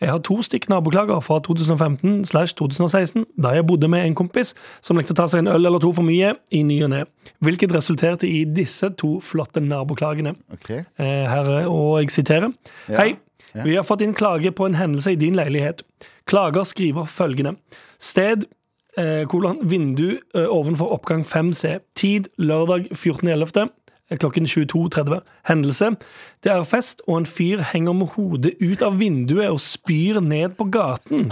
C: Jeg har to stykk naboklager fra 2015 slash 2016, der jeg bodde med en kompis som likte å ta seg en øl eller to for mye i ny og ne, hvilket resulterte i disse to flotte naboklagene.
B: Ok.
C: Eh, Herre, og jeg siterer. Hei, vi har fått inn klage på en hendelse i din leilighet. Klager skriver følgende. Sted, eh, kolon, vindu eh, ovenfor oppgang 5C. Tid, lørdag 14.11. eh, Klokken 22.30. Hendelse. Det er fest, og en fyr henger med hodet ut av vinduet og spyr ned på gaten.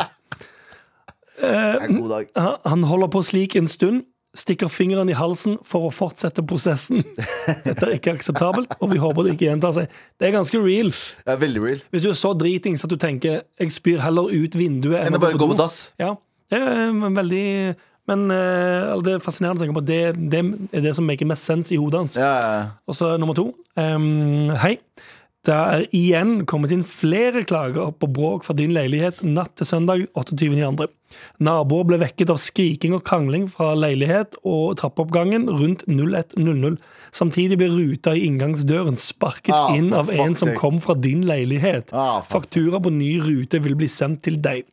B: Det er en god dag.
C: Han han holder på slik en stund, stikker fingeren i halsen for å fortsette prosessen. Dette er ikke akseptabelt, og vi håper det ikke gjentar seg. Det er ganske real.
B: Det er veldig real.
C: Hvis du er så dritings at du tenker 'jeg spyr heller ut vinduet
B: Enn å bare gå på dass.
C: Ja, det er en veldig Men eh, eller det er fascinerende å tenke på. at Det, det er det som maker mest sens i hodet hans.
B: Ja, ja, ja.
C: Og så nummer to. ehm, hei. Det er igjen kommet inn flere klager på bråk fra din leilighet natt til søndag 28.2. Naboer ble vekket av skriking og krangling fra leilighet og trappeoppgangen rundt 01.00. Samtidig ble ruta i inngangsdøren sparket
B: Ah,
C: inn
B: for
C: av en
B: fuck's
C: som
B: sake.
C: kom fra din leilighet.
B: Ah, fuck.
C: Faktura på ny rute vil bli sendt til deg.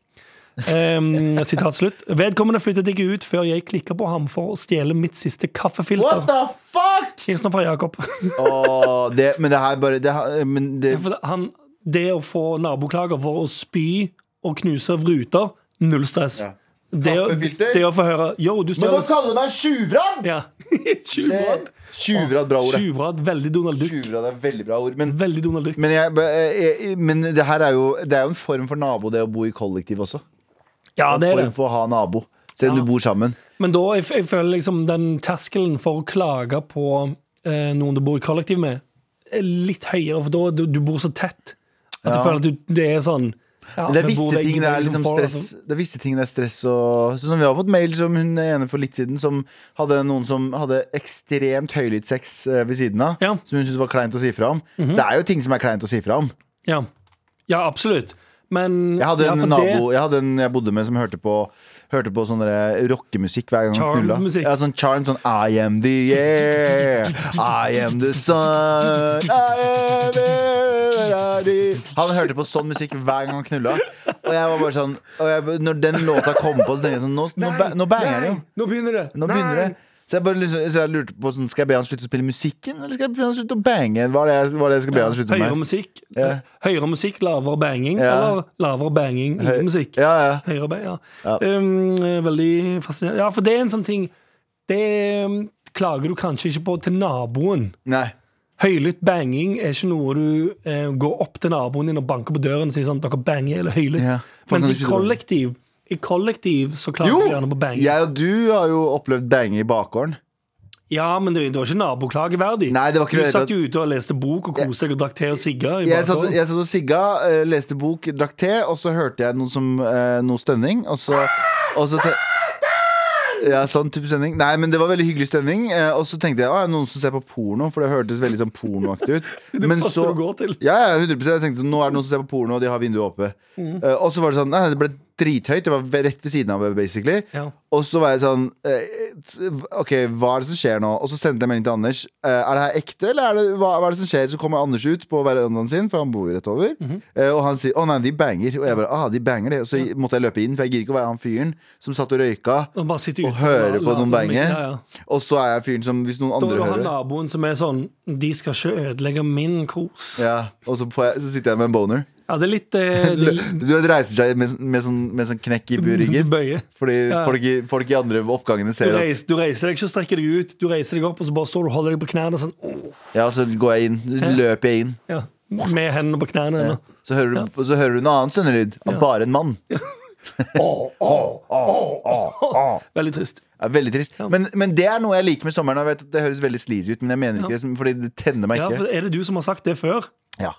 B: [laughs]
C: Ehm, sitat slutt. Vedkommende flyttet ikke ut før jeg klikka på ham for å stjele mitt siste
B: What
C: kaffefilter.
B: the fuck?!
C: Hilsen fra Jakob.
B: Åh, det, men det her bare det, her- men det,
C: Ja, for det- han, det å få naboklager for å spy og knuse ruter, null stress. Det, å,
B: Kaffefilter?
C: det å få høre Yo, du
B: Men nå
C: stjal
B: kaller du meg tjuvran!
C: ja. [laughs] Tjuvrat.
B: Tjuvran, bra ord. det.
C: Tjuvrat. Veldig Donald Duck.
B: Tjuvran er veldig bra ord. Men,
C: Veldig Donald Duck.
B: men, jeg, jeg, men det her er jo Det er jo en form for nabo, det å bo i kollektiv også.
C: Ja, det er
B: Form
C: det.
B: for å ha nabo. Selv om
C: Ja.
B: du bor sammen.
C: Men da jeg, jeg føler liksom den terskelen for å klage på eh, noen du bor i kollektiv med, er litt høyere, for da du, du bor så tett at du
B: Ja.
C: føler at du, det er sånn ja,
B: Men det er
C: vi bor
B: visse
C: vegg i
B: ting det
C: vegg
B: er
C: som
B: liksom
C: får,
B: stress
C: altså.
B: Det er visse ting det er stress og Sånn som vi har fått mail som hun ene for litt siden Som hadde noen som hadde ekstremt høylytt sex eh, ved siden av
C: Ja. Mhm.
B: Som hun syntes var kleint å si fra om Det er jo ting som er kleint å si fra om
C: Ja. ja, absolutt. Men
B: Jeg hadde
C: ja,
B: en
C: for det-
B: nabo jeg, hadde en, jeg bodde med som hørte på Hørte på sånn der rockemusikk hver gang han knulla
C: Charm-musikk.
B: Ja, sånn charm, sånn I am the air I am the sun I am the Han hørte på sånn musikk hver gang han knulla Og jeg var bare sånn og jeg, Når den låta kom på, så tenkte jeg sånn Nå, nå, ba- nå banger jeg jo
C: Nå begynner det.
B: Nå begynner det så jeg, bare, liksom- så jeg lurte på sånn, Skal jeg be han slutte å spille musikken Eller skal jeg be han slutte å bange Hva er det jeg, hva er det jeg skal be han slutte
C: Høyere
B: med
C: musikk,
B: Ja.
C: høyere musikk, lavere banging,
B: Ja.
C: eller lavere banging, ikke musikk.
B: Ja, ja
C: Høyere bang, ja.
B: Ja.
C: Um, veldig fascinerende. Ja, for det er en sånn ting Det um, klager du kanskje ikke på til naboen.
B: Nei
C: Høylytt banging er ikke noe du eh, går opp til naboen din og banker på døren og sier sånn dere banger eller høylytt.
B: Ja, for
C: Mens
B: kan
C: i
B: du ikke-
C: kollektiv, i kollektiv så klager
B: Jo,
C: du gjerne på banging.
B: jeg og du har jo opplevd bange i bakgården.
C: Ja, men det, det var ikke naboklageverdig.
B: Nei, det var ikke
C: du
B: det.
C: satt jo ute og leste bok og koste deg og drakk te og sigga. i
B: Jeg satt,
C: bakgården.
B: jeg satt og sigga, eh, leste bok, drakk te, og så hørte jeg noe, som, eh, noe stønning. Og så, og så te- ja, sånn type stønning. Nei, men det var veldig hyggelig stønning. eh, Og så tenkte jeg at noen som ser på porno, for det hørtes veldig sånn pornoaktig ut.
C: [laughs] Det
B: Men
C: passer
B: så-
C: å gå til.
B: Ja, ja, 100% Jeg tenkte nå er det noen som ser på porno, og de har vinduet oppe.
C: Mm.
B: Eh, og så var det sånn Nei, det ble drithøyt. Det var ve- rett ved siden av meg, basically.
C: Ja.
B: Og så var jeg sånn eh, t- OK, hva er det som skjer nå? Og så sendte jeg melding til Anders. eh, er det her ekte, eller er det, hva, hva er det som skjer? Så kommer Anders ut på verandaen sin, for han bor jo rett over.
C: Mhm.
B: Eh, og han sier 'Å nei, de banger'. Og jeg bare 'Ah, de banger', de. Og så måtte jeg løpe inn, for jeg gidder ikke å være han fyren som satt og røyka.
C: Og bare sitter
B: Og
C: ute
B: hører på
C: later
B: noen
C: som
B: bange.
C: ikke- Ja, ja.
B: Og så er jeg fyren som, hvis noen
C: Da
B: andre
C: du har
B: hører det
C: naboen som er sånn De skal ikke ødelegge min kos. Ja,
B: ja, Og så, får jeg, så sitter jeg med en boner.
C: det er
B: [laughs]
C: litt eh,
B: Du
C: det,
B: vet, reiser seg med, med, sånn, med sånn knekk i
C: [laughs] Du
B: burryggen.
C: bøyer.
B: Fordi
C: Ja.
B: folk, i- folk i andre oppgangene
C: Du
B: ser at
C: reiser, du reiser deg ikke og strekker deg ut. Du reiser deg opp og så bare står du og holder deg på knærne sånn. åh,
B: Ja, så går jeg inn. Løper jeg inn.
C: Ja, med hendene på knærne. Ja.
B: Så hører du, så hører du en annen stønnelyd av bare en mann.
C: Veldig trist.
B: Det er veldig trist. Men, men det er noe jeg liker med sommeren. og Jeg vet at Det høres veldig sleazy ut, men jeg mener ikke det, som- fordi det tenner meg
C: Ja,
B: ikke.
C: for Er det du som har sagt det før?
B: Ja.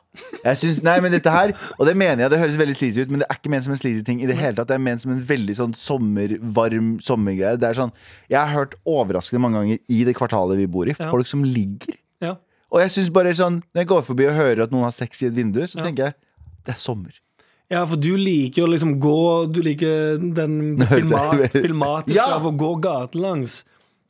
B: Jeg synes, nei, men dette her Og det mener jeg, det høres veldig sleazy ut, men det er ikke ment som en sleazy ting. I det hele tatt, Det er ment som en veldig sånn sommervarm sommergreie. Det er sånn, Jeg har hørt overraskende mange ganger i det kvartalet vi bor i,
C: Ja.
B: folk som ligger.
C: Ja.
B: Og jeg synes bare sånn Når jeg går forbi og hører at noen har sex i et vindu, så tenker jeg det er sommer.
C: Ja, for du liker å liksom gå Du
B: [laughs]
C: liker den
B: høres jeg
C: filma,
B: veldig-
C: filmatiske
B: Ja!
C: av å gå gatelangs.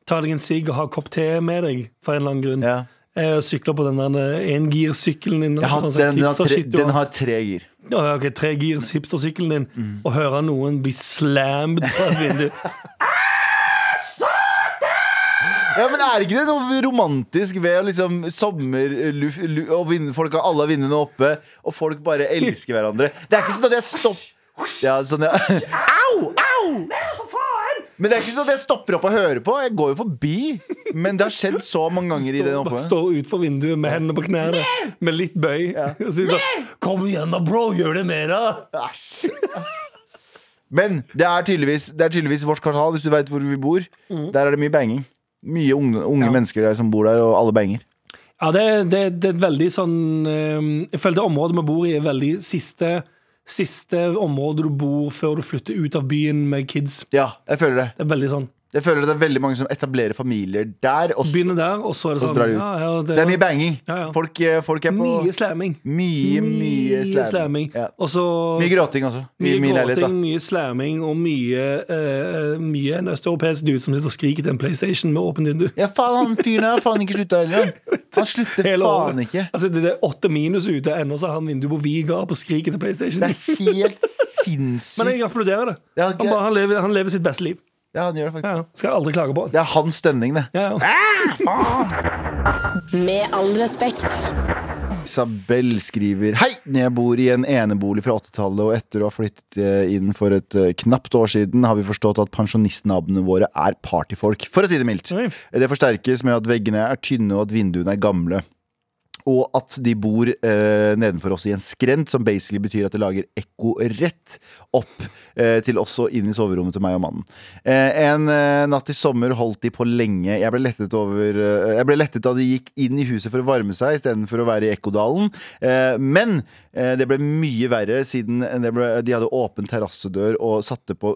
C: Ta deg en sigg og ha en kopp te med deg, for en eller annen grunn.
B: Ja.
C: Eh, og Sykle på den der eh, engirsykkelen din. eller
B: Jeg har,
C: hva slags
B: den, den, har
C: hipster
B: tre,
C: shit du
B: den
C: har.
B: har tre gir.
C: øh, ok, tregirs hipstersykkelen din
B: Mm.
C: og høre noen bli slammed fra et
B: [laughs]
C: vindu.
B: Ja, men er ikke det noe romantisk ved å liksom sommerluft lu- og vin- folk har alle vinduene oppe, og folk bare elsker hverandre? Det er ikke sånn at jeg stopper ja, sånn jeg, Au! Au! Men det er ikke sånn at jeg stopper opp og hører på. Jeg går jo forbi. Men det har skjedd så mange ganger i den
C: Står,
B: oppe.
C: står utenfor vinduet med hendene på knærne, med litt bøy. Og sier sånn Kom igjen da, bro! Gjør det mer, da!
B: Æsj. Men det er tydeligvis, det er tydeligvis vårt kvartal, hvis du veit hvor vi bor. Der er det mye banging. Mye unge, unge mennesker der som bor der, og alle banger.
C: Ja, det, det, det er et veldig sånn eh, Jeg føler det området vi bor i, er veldig siste, siste område du bor før du flytter ut av byen med kids.
B: Ja, jeg føler det.
C: Det er veldig sånn
B: Jeg føler det er veldig mange som etablerer familier der. Og
C: Begynner der, og så er det
B: Og så
C: sånn
B: drar de ut.
C: ja, ja,
B: det er mye banging.
C: Ja, ja.
B: Folk, eh, folk er på
C: Mye slamming.
B: Mye, mye slamming. Ja.
C: Og så
B: Mye gråting også. I
C: mye
B: min leilighet,
C: gråting,
B: da.
C: mye slamming og mye, eh, mye en østeuropeisk dude som sitter og skriker til en PlayStation med åpent vindu.
B: Ja, faen, han fyren her har faen ikke slutta heller.
C: [laughs]
B: han. Han slutter
C: Hele året.
B: faen ikke.
C: Altså, det er åtte minus ute, ennå så har han vindu på vid gap og skriker til
B: Det
C: PlayStation.
B: er
C: [laughs]
B: helt
C: Men jeg
B: sinnssykt.
C: gratulerer det.
B: Ja,
C: Han, bare, han, lever, han lever sitt beste liv.
B: Ja, han gjør det faktisk.
C: Ja, ja. skal aldri klage på han.
B: Det er hans stønning, det.
C: Ja, ja.
D: Med all respekt.
B: Isabel skriver Hei, jeg bor i en enebolig fra 80-tallet Og etter å ha flyttet eh, inn for et eh, knapt år siden Har vi forstått at pensjonistnabene våre er partyfolk For å si det mildt
C: Oi.
B: Det forsterkes med at veggene er tynne og at vinduene er gamle og at de bor eh, nedenfor oss i en skrent, som basically betyr at det lager ekko rett opp eh, til oss og inn i soverommet til meg og mannen. Eh, en eh, natt i sommer holdt de på lenge. Jeg ble lettet, over, eh, jeg ble lettet da de gikk inn i huset for å varme seg istedenfor å være i ekkodalen. Eh, men eh, det ble mye verre siden det ble, de hadde åpen terrassedør og satte på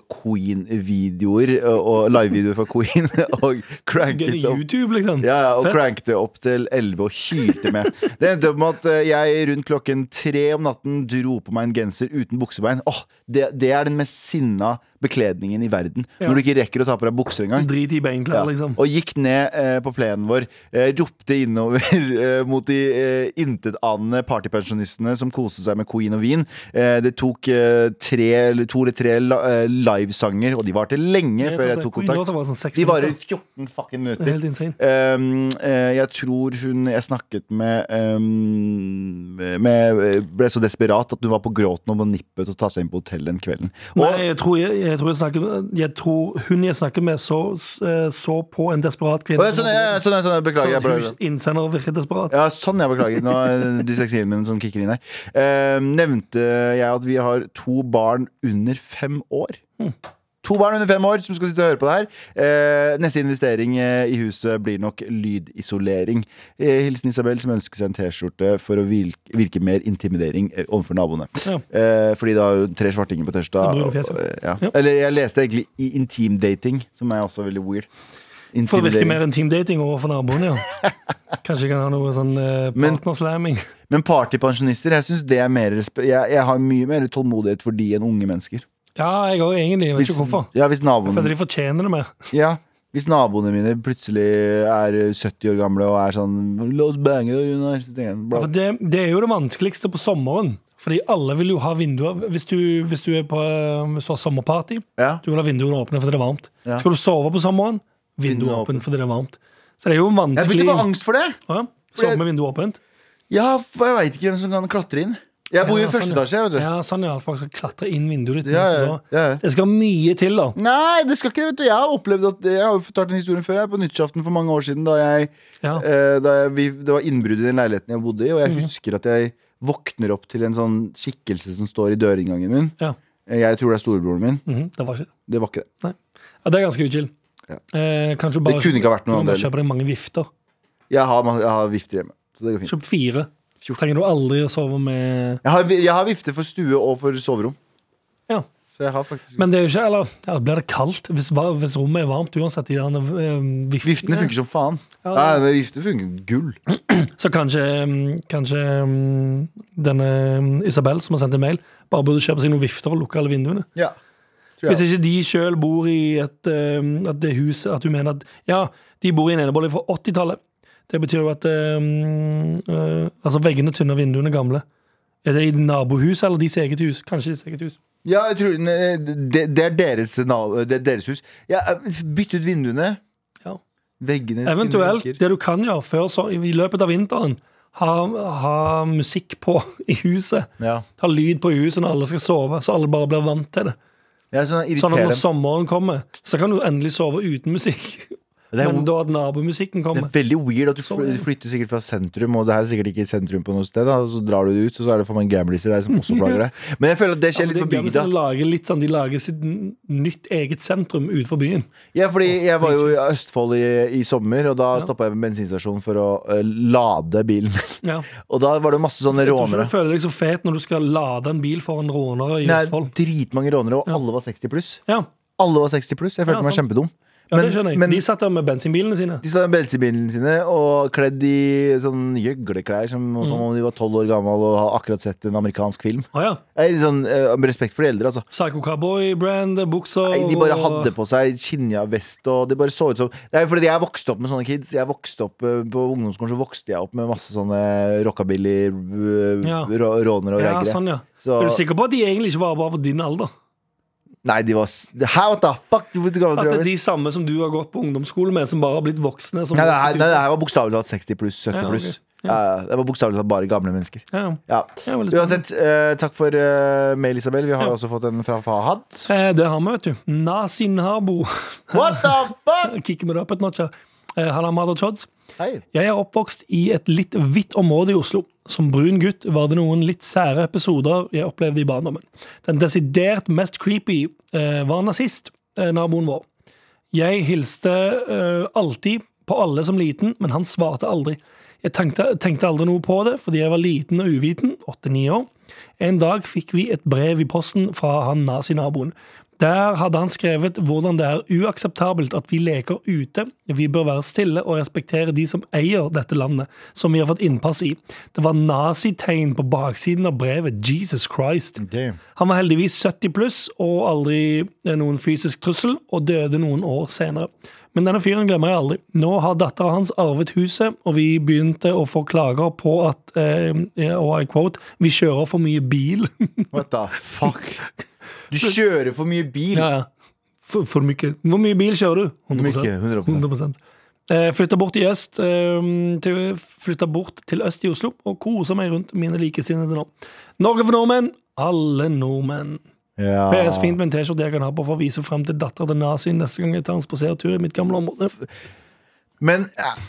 B: Queen-videoer eh, og livevideoer fra Queen [laughs] og cranket
C: Gøy
B: opp.
C: YouTube, liksom.
B: Ja, ja, og
C: Fett.
B: cranket det opp til 11 og hylte med. Det endte opp med at eh, jeg rundt klokken tre om natten dro på meg en genser uten buksebein. Åh, det, det er den mest sinna bekledningen i verden. Når du ikke rekker å ta på deg bukser engang.
C: Drit i beinklær,
B: Ja.
C: liksom.
B: Og gikk ned eh, på plenen vår, eh, ropte innover [laughs] eh, mot de eh, intetanende partypensjonistene som koste seg med queen og vin. Eh, det tok eh, tre, eller to eller tre la, eh, livesanger, og de varte lenge
C: Jeg
B: før
C: satt
B: jeg tok
C: der. Queen-låta var sånn
B: kontakt.
C: seks
B: De varer
C: minutter.
B: 14 fucking
C: Det er
B: minutter.
C: helt insane.
B: Um, eh, jeg tror hun jeg snakket med, um, med Ble så desperat at hun var på gråten og var nippet og tatt seg inn på hotellet den kvelden. Og,
C: Nei, jeg tror, jeg, jeg, tror jeg, snakker, jeg tror hun jeg snakker med, så, eh, så på en desperat kvinne.
B: Å, ja, sånn, ja, ja, sånn, ja, sånn, beklager. Jeg bare,
C: Hus- Innsender virker desperat.
B: ja, sånn, jeg beklager. Nå er dysleksien min som kicker inn her. Eh, nevnte jeg at vi har to barn under fem år?
C: Hmm.
B: To barn under fem år som skal sitte og høre på det her. Eh, neste investering eh, i huset blir nok lydisolering. Eh, hilsen Isabel, som ønsker seg en T-skjorte for å virke, virke mer intimidering eh, overfor naboene.
C: Ja.
B: Eh, fordi da har du tre svartinger på
C: Da
B: tirsdag.
C: blir det
B: og-
C: fjes, ja.
B: og, eh, ja.
C: Ja.
B: Eller jeg leste egentlig i intimdating, som er også veldig weird.
C: For å virke
B: Intimidering.
C: mer intimdating
B: [laughs]
C: overfor naboen, ja. Kanskje jeg kan ha noe sånn eh,
B: Men-
C: partnerslamming.
B: Men partypensjonister, jeg synes det er mer respe- jeg, jeg har mye mer tålmodighet for de enn unge mennesker.
C: Ja, jeg òg, egentlig. Jeg vet ikke hvorfor.
B: ja, hvis,
C: Jeg føler
B: naboene,
C: de fortjener det mer.
B: ja, hvis naboene mine plutselig er 70 år gamle og er sånn La oss bange, da, Runar. Så tenker jeg, bra.
C: For det, det er jo det vanskeligste på sommeren. Fordi alle vil jo ha vinduer Hvis du, hvis du, er på, eh, hvis du har sommerparty,
B: Ja.
C: du vil ha vinduene åpne fordi det er varmt.
B: Ja.
C: Skal du sove på sommeren, vinduet
B: Vinduet
C: åpent fordi det er varmt. Så det er jo
B: Jeg begynte
C: vanskelig
B: å få angst for det!
C: ja,
B: Fordi jeg-
C: Sove med vinduet åpent.
B: Ja, for jeg veit ikke hvem som kan klatre inn. Jeg bor
C: Ja,
B: i første
C: sånn,
B: etasje, vet du.
C: Ja, sånn ja, at folk skal klatre inn vinduet ditt.
B: Ja, ja,
C: mens du
B: ja,
C: sover.
B: ja.
C: Det skal mye til, da.
B: Nei, det skal ikke det, vet du. Jeg har opplevd at Jeg har jo fortalt den historien før. Jeg på nyttårsaften for mange år siden, da jeg
C: Ja. Mhm.
B: Eh, da jeg, vi, det var innbrudd i den leiligheten jeg bodde i, og jeg husker at jeg våkner opp til en sånn skikkelse som står i dørinngangen min.
C: Ja.
B: Eh, Jeg tror det er storebroren min.
C: Mhm, det var ikke det.
B: Det var ikke det.
C: Nei. Ja, det er ganske uchill.
B: Ja.
C: Eh, kanskje bare,
B: kunne ikke ha vært noe
C: Du må bare
B: annet
C: Kjøpe deg mange vifter.
B: Jeg har, ma- jeg har vifter hjemme. Så det går fint.
C: Kjøp fire. Trenger du aldri å sove med
B: Jeg har, vi- jeg har vifter for stue og for soverom.
C: Ja.
B: Så jeg har faktisk
C: Men det er jo ikke Eller ja, blir det kaldt hvis, va- hvis rommet er varmt uansett? De der, eh, viftene,
B: Viftene funker som faen.
C: Ja,
B: Nei,
C: det-
B: det vifter funker gull.
C: Så kanskje, mm, kanskje mm, denne mm, Isabel som har sendt en mail, bare burde kjøpe seg noen vifter og lukke alle vinduene.
B: Ja. Tror
C: Hvis
B: jeg.
C: ikke de sjøl bor i et eh, at det huset At du mener at Ja, de bor i en enebolig fra mm, 80-tallet. Det betyr jo at eh, eh, Altså, veggene er tynne og vinduene er gamle. Er det i nabohus eller deres eget hus? Kanskje deres eget hus.
B: Ja, jeg tror ne, det, det, er deres, nav- det er deres hus. Ja, bytt ut vinduene.
C: Ja.
B: Veggene til
C: Eventuelt,
B: vinduer.
C: det du kan gjøre før, så, i løpet av vinteren, ha, ha musikk på [laughs] i huset.
B: Ja.
C: Ta lyd på i huset når alle skal sove, så alle bare blir vant til det.
B: ja, sånn
C: Sånn at
B: irriterende.
C: når sommeren kommer, så kan du endelig sove uten musikk.
B: [laughs] Det er,
C: Men da at nabomusikken
B: det
C: kommer.
B: er veldig weird at du fl-
C: Sånn.
B: du flytter sikkert fra sentrum, og det her er sikkert ikke sentrum på noe sted, da, og så drar du det ut, og så er det for mange gambliser der som også
C: [laughs]
B: plager deg. Men jeg føler at det
C: Ja,
B: skjer
C: for
B: litt
C: det
B: på
C: er gøy hvis
B: bygda.
C: De lager, litt sånn, de lager sitt n- nytt eget sentrum utenfor byen.
B: Ja, fordi jeg var jo i Østfold i, i sommer, og da stoppa jeg ved bensinstasjonen for å eh, lade bilen.
C: Ja.
B: [laughs] og da var det masse sånne
C: Jeg tror ikke
B: rånere.
C: du føler deg så fet når du skal lade en bil for en rånere i
B: Det er
C: Østfold.
B: dritmange rånere, og alle var 60 pluss.
C: Ja,
B: Alle var 60 pluss. Jeg følte
C: Ja,
B: meg
C: sant.
B: kjempedum.
C: ja det skjønner jeg.
B: men
C: de satt der med bensinbilene sine.
B: de satt med belsebilene sine og kledd i sånn gjøgleklær som
C: Mm.
B: som om de var tolv år gammel og har akkurat sett en amerikansk film.
C: Å ja.
B: Nei, sånn, eh, med respekt for de eldre, altså.
C: Psycho Cowboy-brand, bukser
B: Nei, de bare
C: og-
B: hadde på seg skinnja-vest og det bare så ut som Det er fordi jeg vokste opp med sånne kids. Jeg vokste opp eh, På ungdomsskolen så vokste jeg opp med masse sånne rockabilly, eh,
C: Ja.
B: rå- rånere og
C: ja,
B: raggere.
C: sånn, ja.
B: Så-
C: Er du sikker på at de egentlig ikke var bare på din alder?
B: Nei, de var s- How the fuck? Hvor gammel
C: At
B: tror du jeg
C: det er
B: ble?
C: de samme som du har gått på ungdomsskole med, som bare har blitt voksne? Som
B: Nei, det her, nei, det her var bokstavelig talt 60 pluss, 70
C: Ja, ok.
B: pluss. Ja, ja, det var bokstavelig talt bare gamle mennesker.
C: ja.
B: Ja.
C: Ja, veldig spennende.
B: Uansett, eh, takk for eh, mail, Isabel. Vi har jo også fått en fra Fahad.
C: Eh, Det har vi, vet du. Nasinhabo. [laughs]
B: What the fuck?!
C: Kicker vi det opp et notch her. Eh, Halla, Mother Chods.
B: Hei.
C: Jeg er oppvokst i et litt hvitt område i Oslo. Som brun gutt var det noen litt sære episoder jeg opplevde i barndommen. Den desidert mest creepy eh, var nazist, eh, naboen vår. Jeg hilste eh, alltid på alle som liten, men han svarte aldri. Jeg tenkte, tenkte aldri noe på det, fordi jeg var liten og uviten, 8-9 år. En dag fikk vi et brev i posten fra han nazinaboen. Der hadde han skrevet hvordan det er uakseptabelt at vi leker ute. Vi bør være stille og respektere de som eier dette landet, som vi har fått innpass i. Det var nazitegn på baksiden av brevet. Jesus Christ.
B: Damn.
C: Han var heldigvis 70 pluss og aldri noen fysisk trussel, og døde noen år senere. Men denne fyren glemmer jeg aldri. Nå har dattera hans arvet huset, og vi begynte å få klager på at eh, og I quote, vi kjører for mye bil. [laughs]
B: What the fuck? Du kjører for mye bil.
C: ja, ja. For, for mye. Hvor mye bil kjører du? 100%.
B: Mye, 100%.
C: 100%. Eh, flytta bort, i øst, eh, til, flytta bort til øst i Oslo og koser meg rundt mine likesinnede nå. Norge for nordmenn! Alle nordmenn.
B: Ja.
C: PS fint med en T-skjorte jeg kan ha på for å vise frem til dattera til nazien neste gang jeg tar en spasertur i mitt gamle område.
B: Men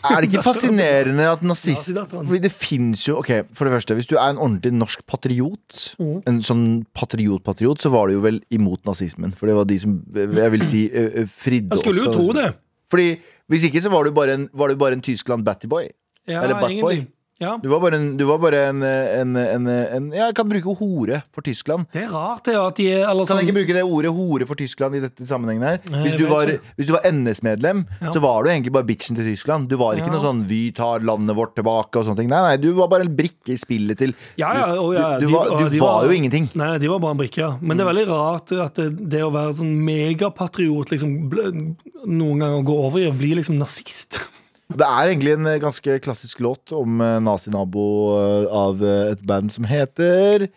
B: er det ikke fascinerende at nazist
C: Nazidatteren.
B: Fordi det fins jo Ok, for det første, hvis du er en ordentlig norsk patriot,
C: Mm.
B: en sånn patriot-patriot, så var du jo vel imot nazismen. For det var de som, jeg vil si, eh, eh, fridde
C: Jeg skulle jo
B: fra
C: tro
B: nazismen.
C: det.
B: Fordi hvis ikke, så var du bare en, var du bare en Tyskland Battyboy.
C: Ja,
B: Eller Batboy.
C: egentlig. Ja.
B: Du var bare en, du var bare en, eh, en, en, en Ja, jeg kan bruke hore for Tyskland.
C: Det er rart det, at de er eller
B: Kan
C: sånn,
B: jeg ikke bruke det ordet hore for Tyskland i dette sammenhengen her?
C: Nei,
B: Hvis
C: Eh, jeg
B: du
C: vet
B: var,
C: ikke.
B: hvis du var NS-medlem, så var du egentlig bare bitchen til Tyskland. Du var ikke
C: Ja.
B: noe sånn 'vi tar landet vårt tilbake' og sånne ting. Nei, nei, du var bare en brikke i spillet til
C: ja, ja, å, ja,
B: Du, du,
C: de-
B: var,
C: å,
B: du
C: de
B: var jo ingenting. Mm.
C: Nei, de var bare en brikke, ja. Men det er veldig rart at det, det å være sånn megapatriot liksom, ble- noen ganger går over i å bli liksom nazist. [laughs]
B: Det er egentlig en eh, ganske klassisk låt om eh, nazinabo eh, av eh, et band som heter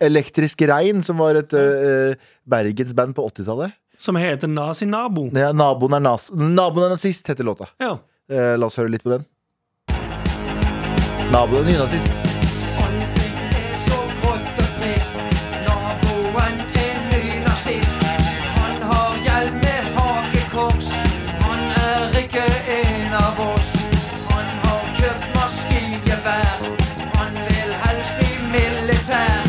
B: Elektrisk Regn, som var et eh, eh, bergensband på 80-tallet.
C: Som heter nazinabo.
B: Det er Naboen er, nas Naboen er nazist, heter låta.
C: Ja.
B: Eh, la oss høre litt på den. Naboen er nynazist.
F: Allting er så grått og trist. Naboen er ny nazist. Han har hjelm med hakekors. Han er ikke en av oss. Han har kjøpt maskingevær. Han vil helst bli militær.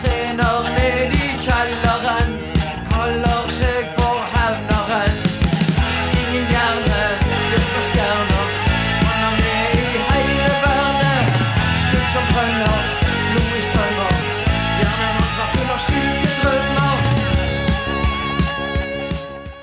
F: Trener ned i kjelleren. Kaller seg for hevneren. Ingen hjerne, virker stjerner. Han er med i hele verden. Skudd som brønner, blod i strømmer. Hjernen hans er full av syke drømmer.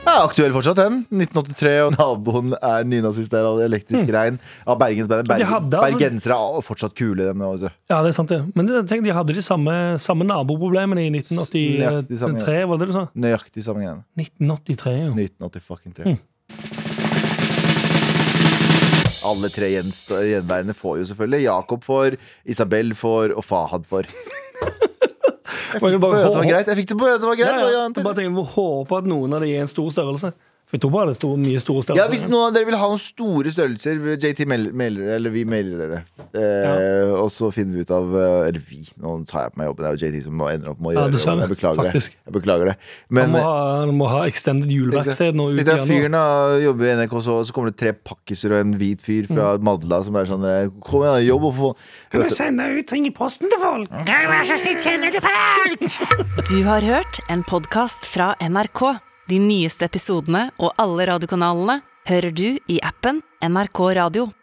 B: Ja, aktuell fortsatt, den. 1983, og naboen er nynazist der, og elektrisk regn. Ja, Bergensbandet.
C: Hmm. De
B: Bergen,
C: hadde altså-
B: Bergensere er fortsatt kule, dem. Altså.
C: ja, det er sant det. Men det- tenk, de hadde de samme, samme naboproblemene i
B: Ja, de samme, ja.
C: 1983, var det det du sa?
B: Nøyaktig samme greiene.
C: 1983, ja.
B: 1980 fucking tre.
C: Hmm.
B: Alle tre gjenst- gjenværende får jo selvfølgelig. Jakob får, Isabel får og Fahad får. Jeg fikk
C: Men
B: det
C: det
B: på
C: bare- [laughs]
B: øret det var greit. Jeg fikk det på øret det var greit. Hva gjør
C: Ja,
B: han
C: ja.
B: til?
C: Bare tenk, jeg håper at noen av de er en stor størrelse. For jeg tror bare det er stor, mye store
B: Ja,
C: størrelser.
B: Hvis noen av dere vil ha noen store størrelser, JT mel- melder eller vi melder dere. Eh, Og så finner vi ut av eh, Eller vi. Nå tar jeg på meg jobben. Det er jo JT som må- ender opp med å
C: Ja,
B: gjøre
C: dessverre,
B: det. Jeg beklager det.
C: faktisk.
B: Jeg beklager det.
C: han,
B: Men
C: må ha, han må ha extended juleverksted nå ut i
B: Tenk deg
C: januar.
B: fyren da, jobber i NRK, så, så kommer det tre pakkiser og en hvit fyr fra
C: Mm.
B: Madla som er sånn eh, Kom igjen, jobb og få
C: Kan du sende ut ting i posten til folk?
A: Du har hørt en podkast fra NRK. De nyeste episodene og alle radiokanalene hører du i appen NRK Radio.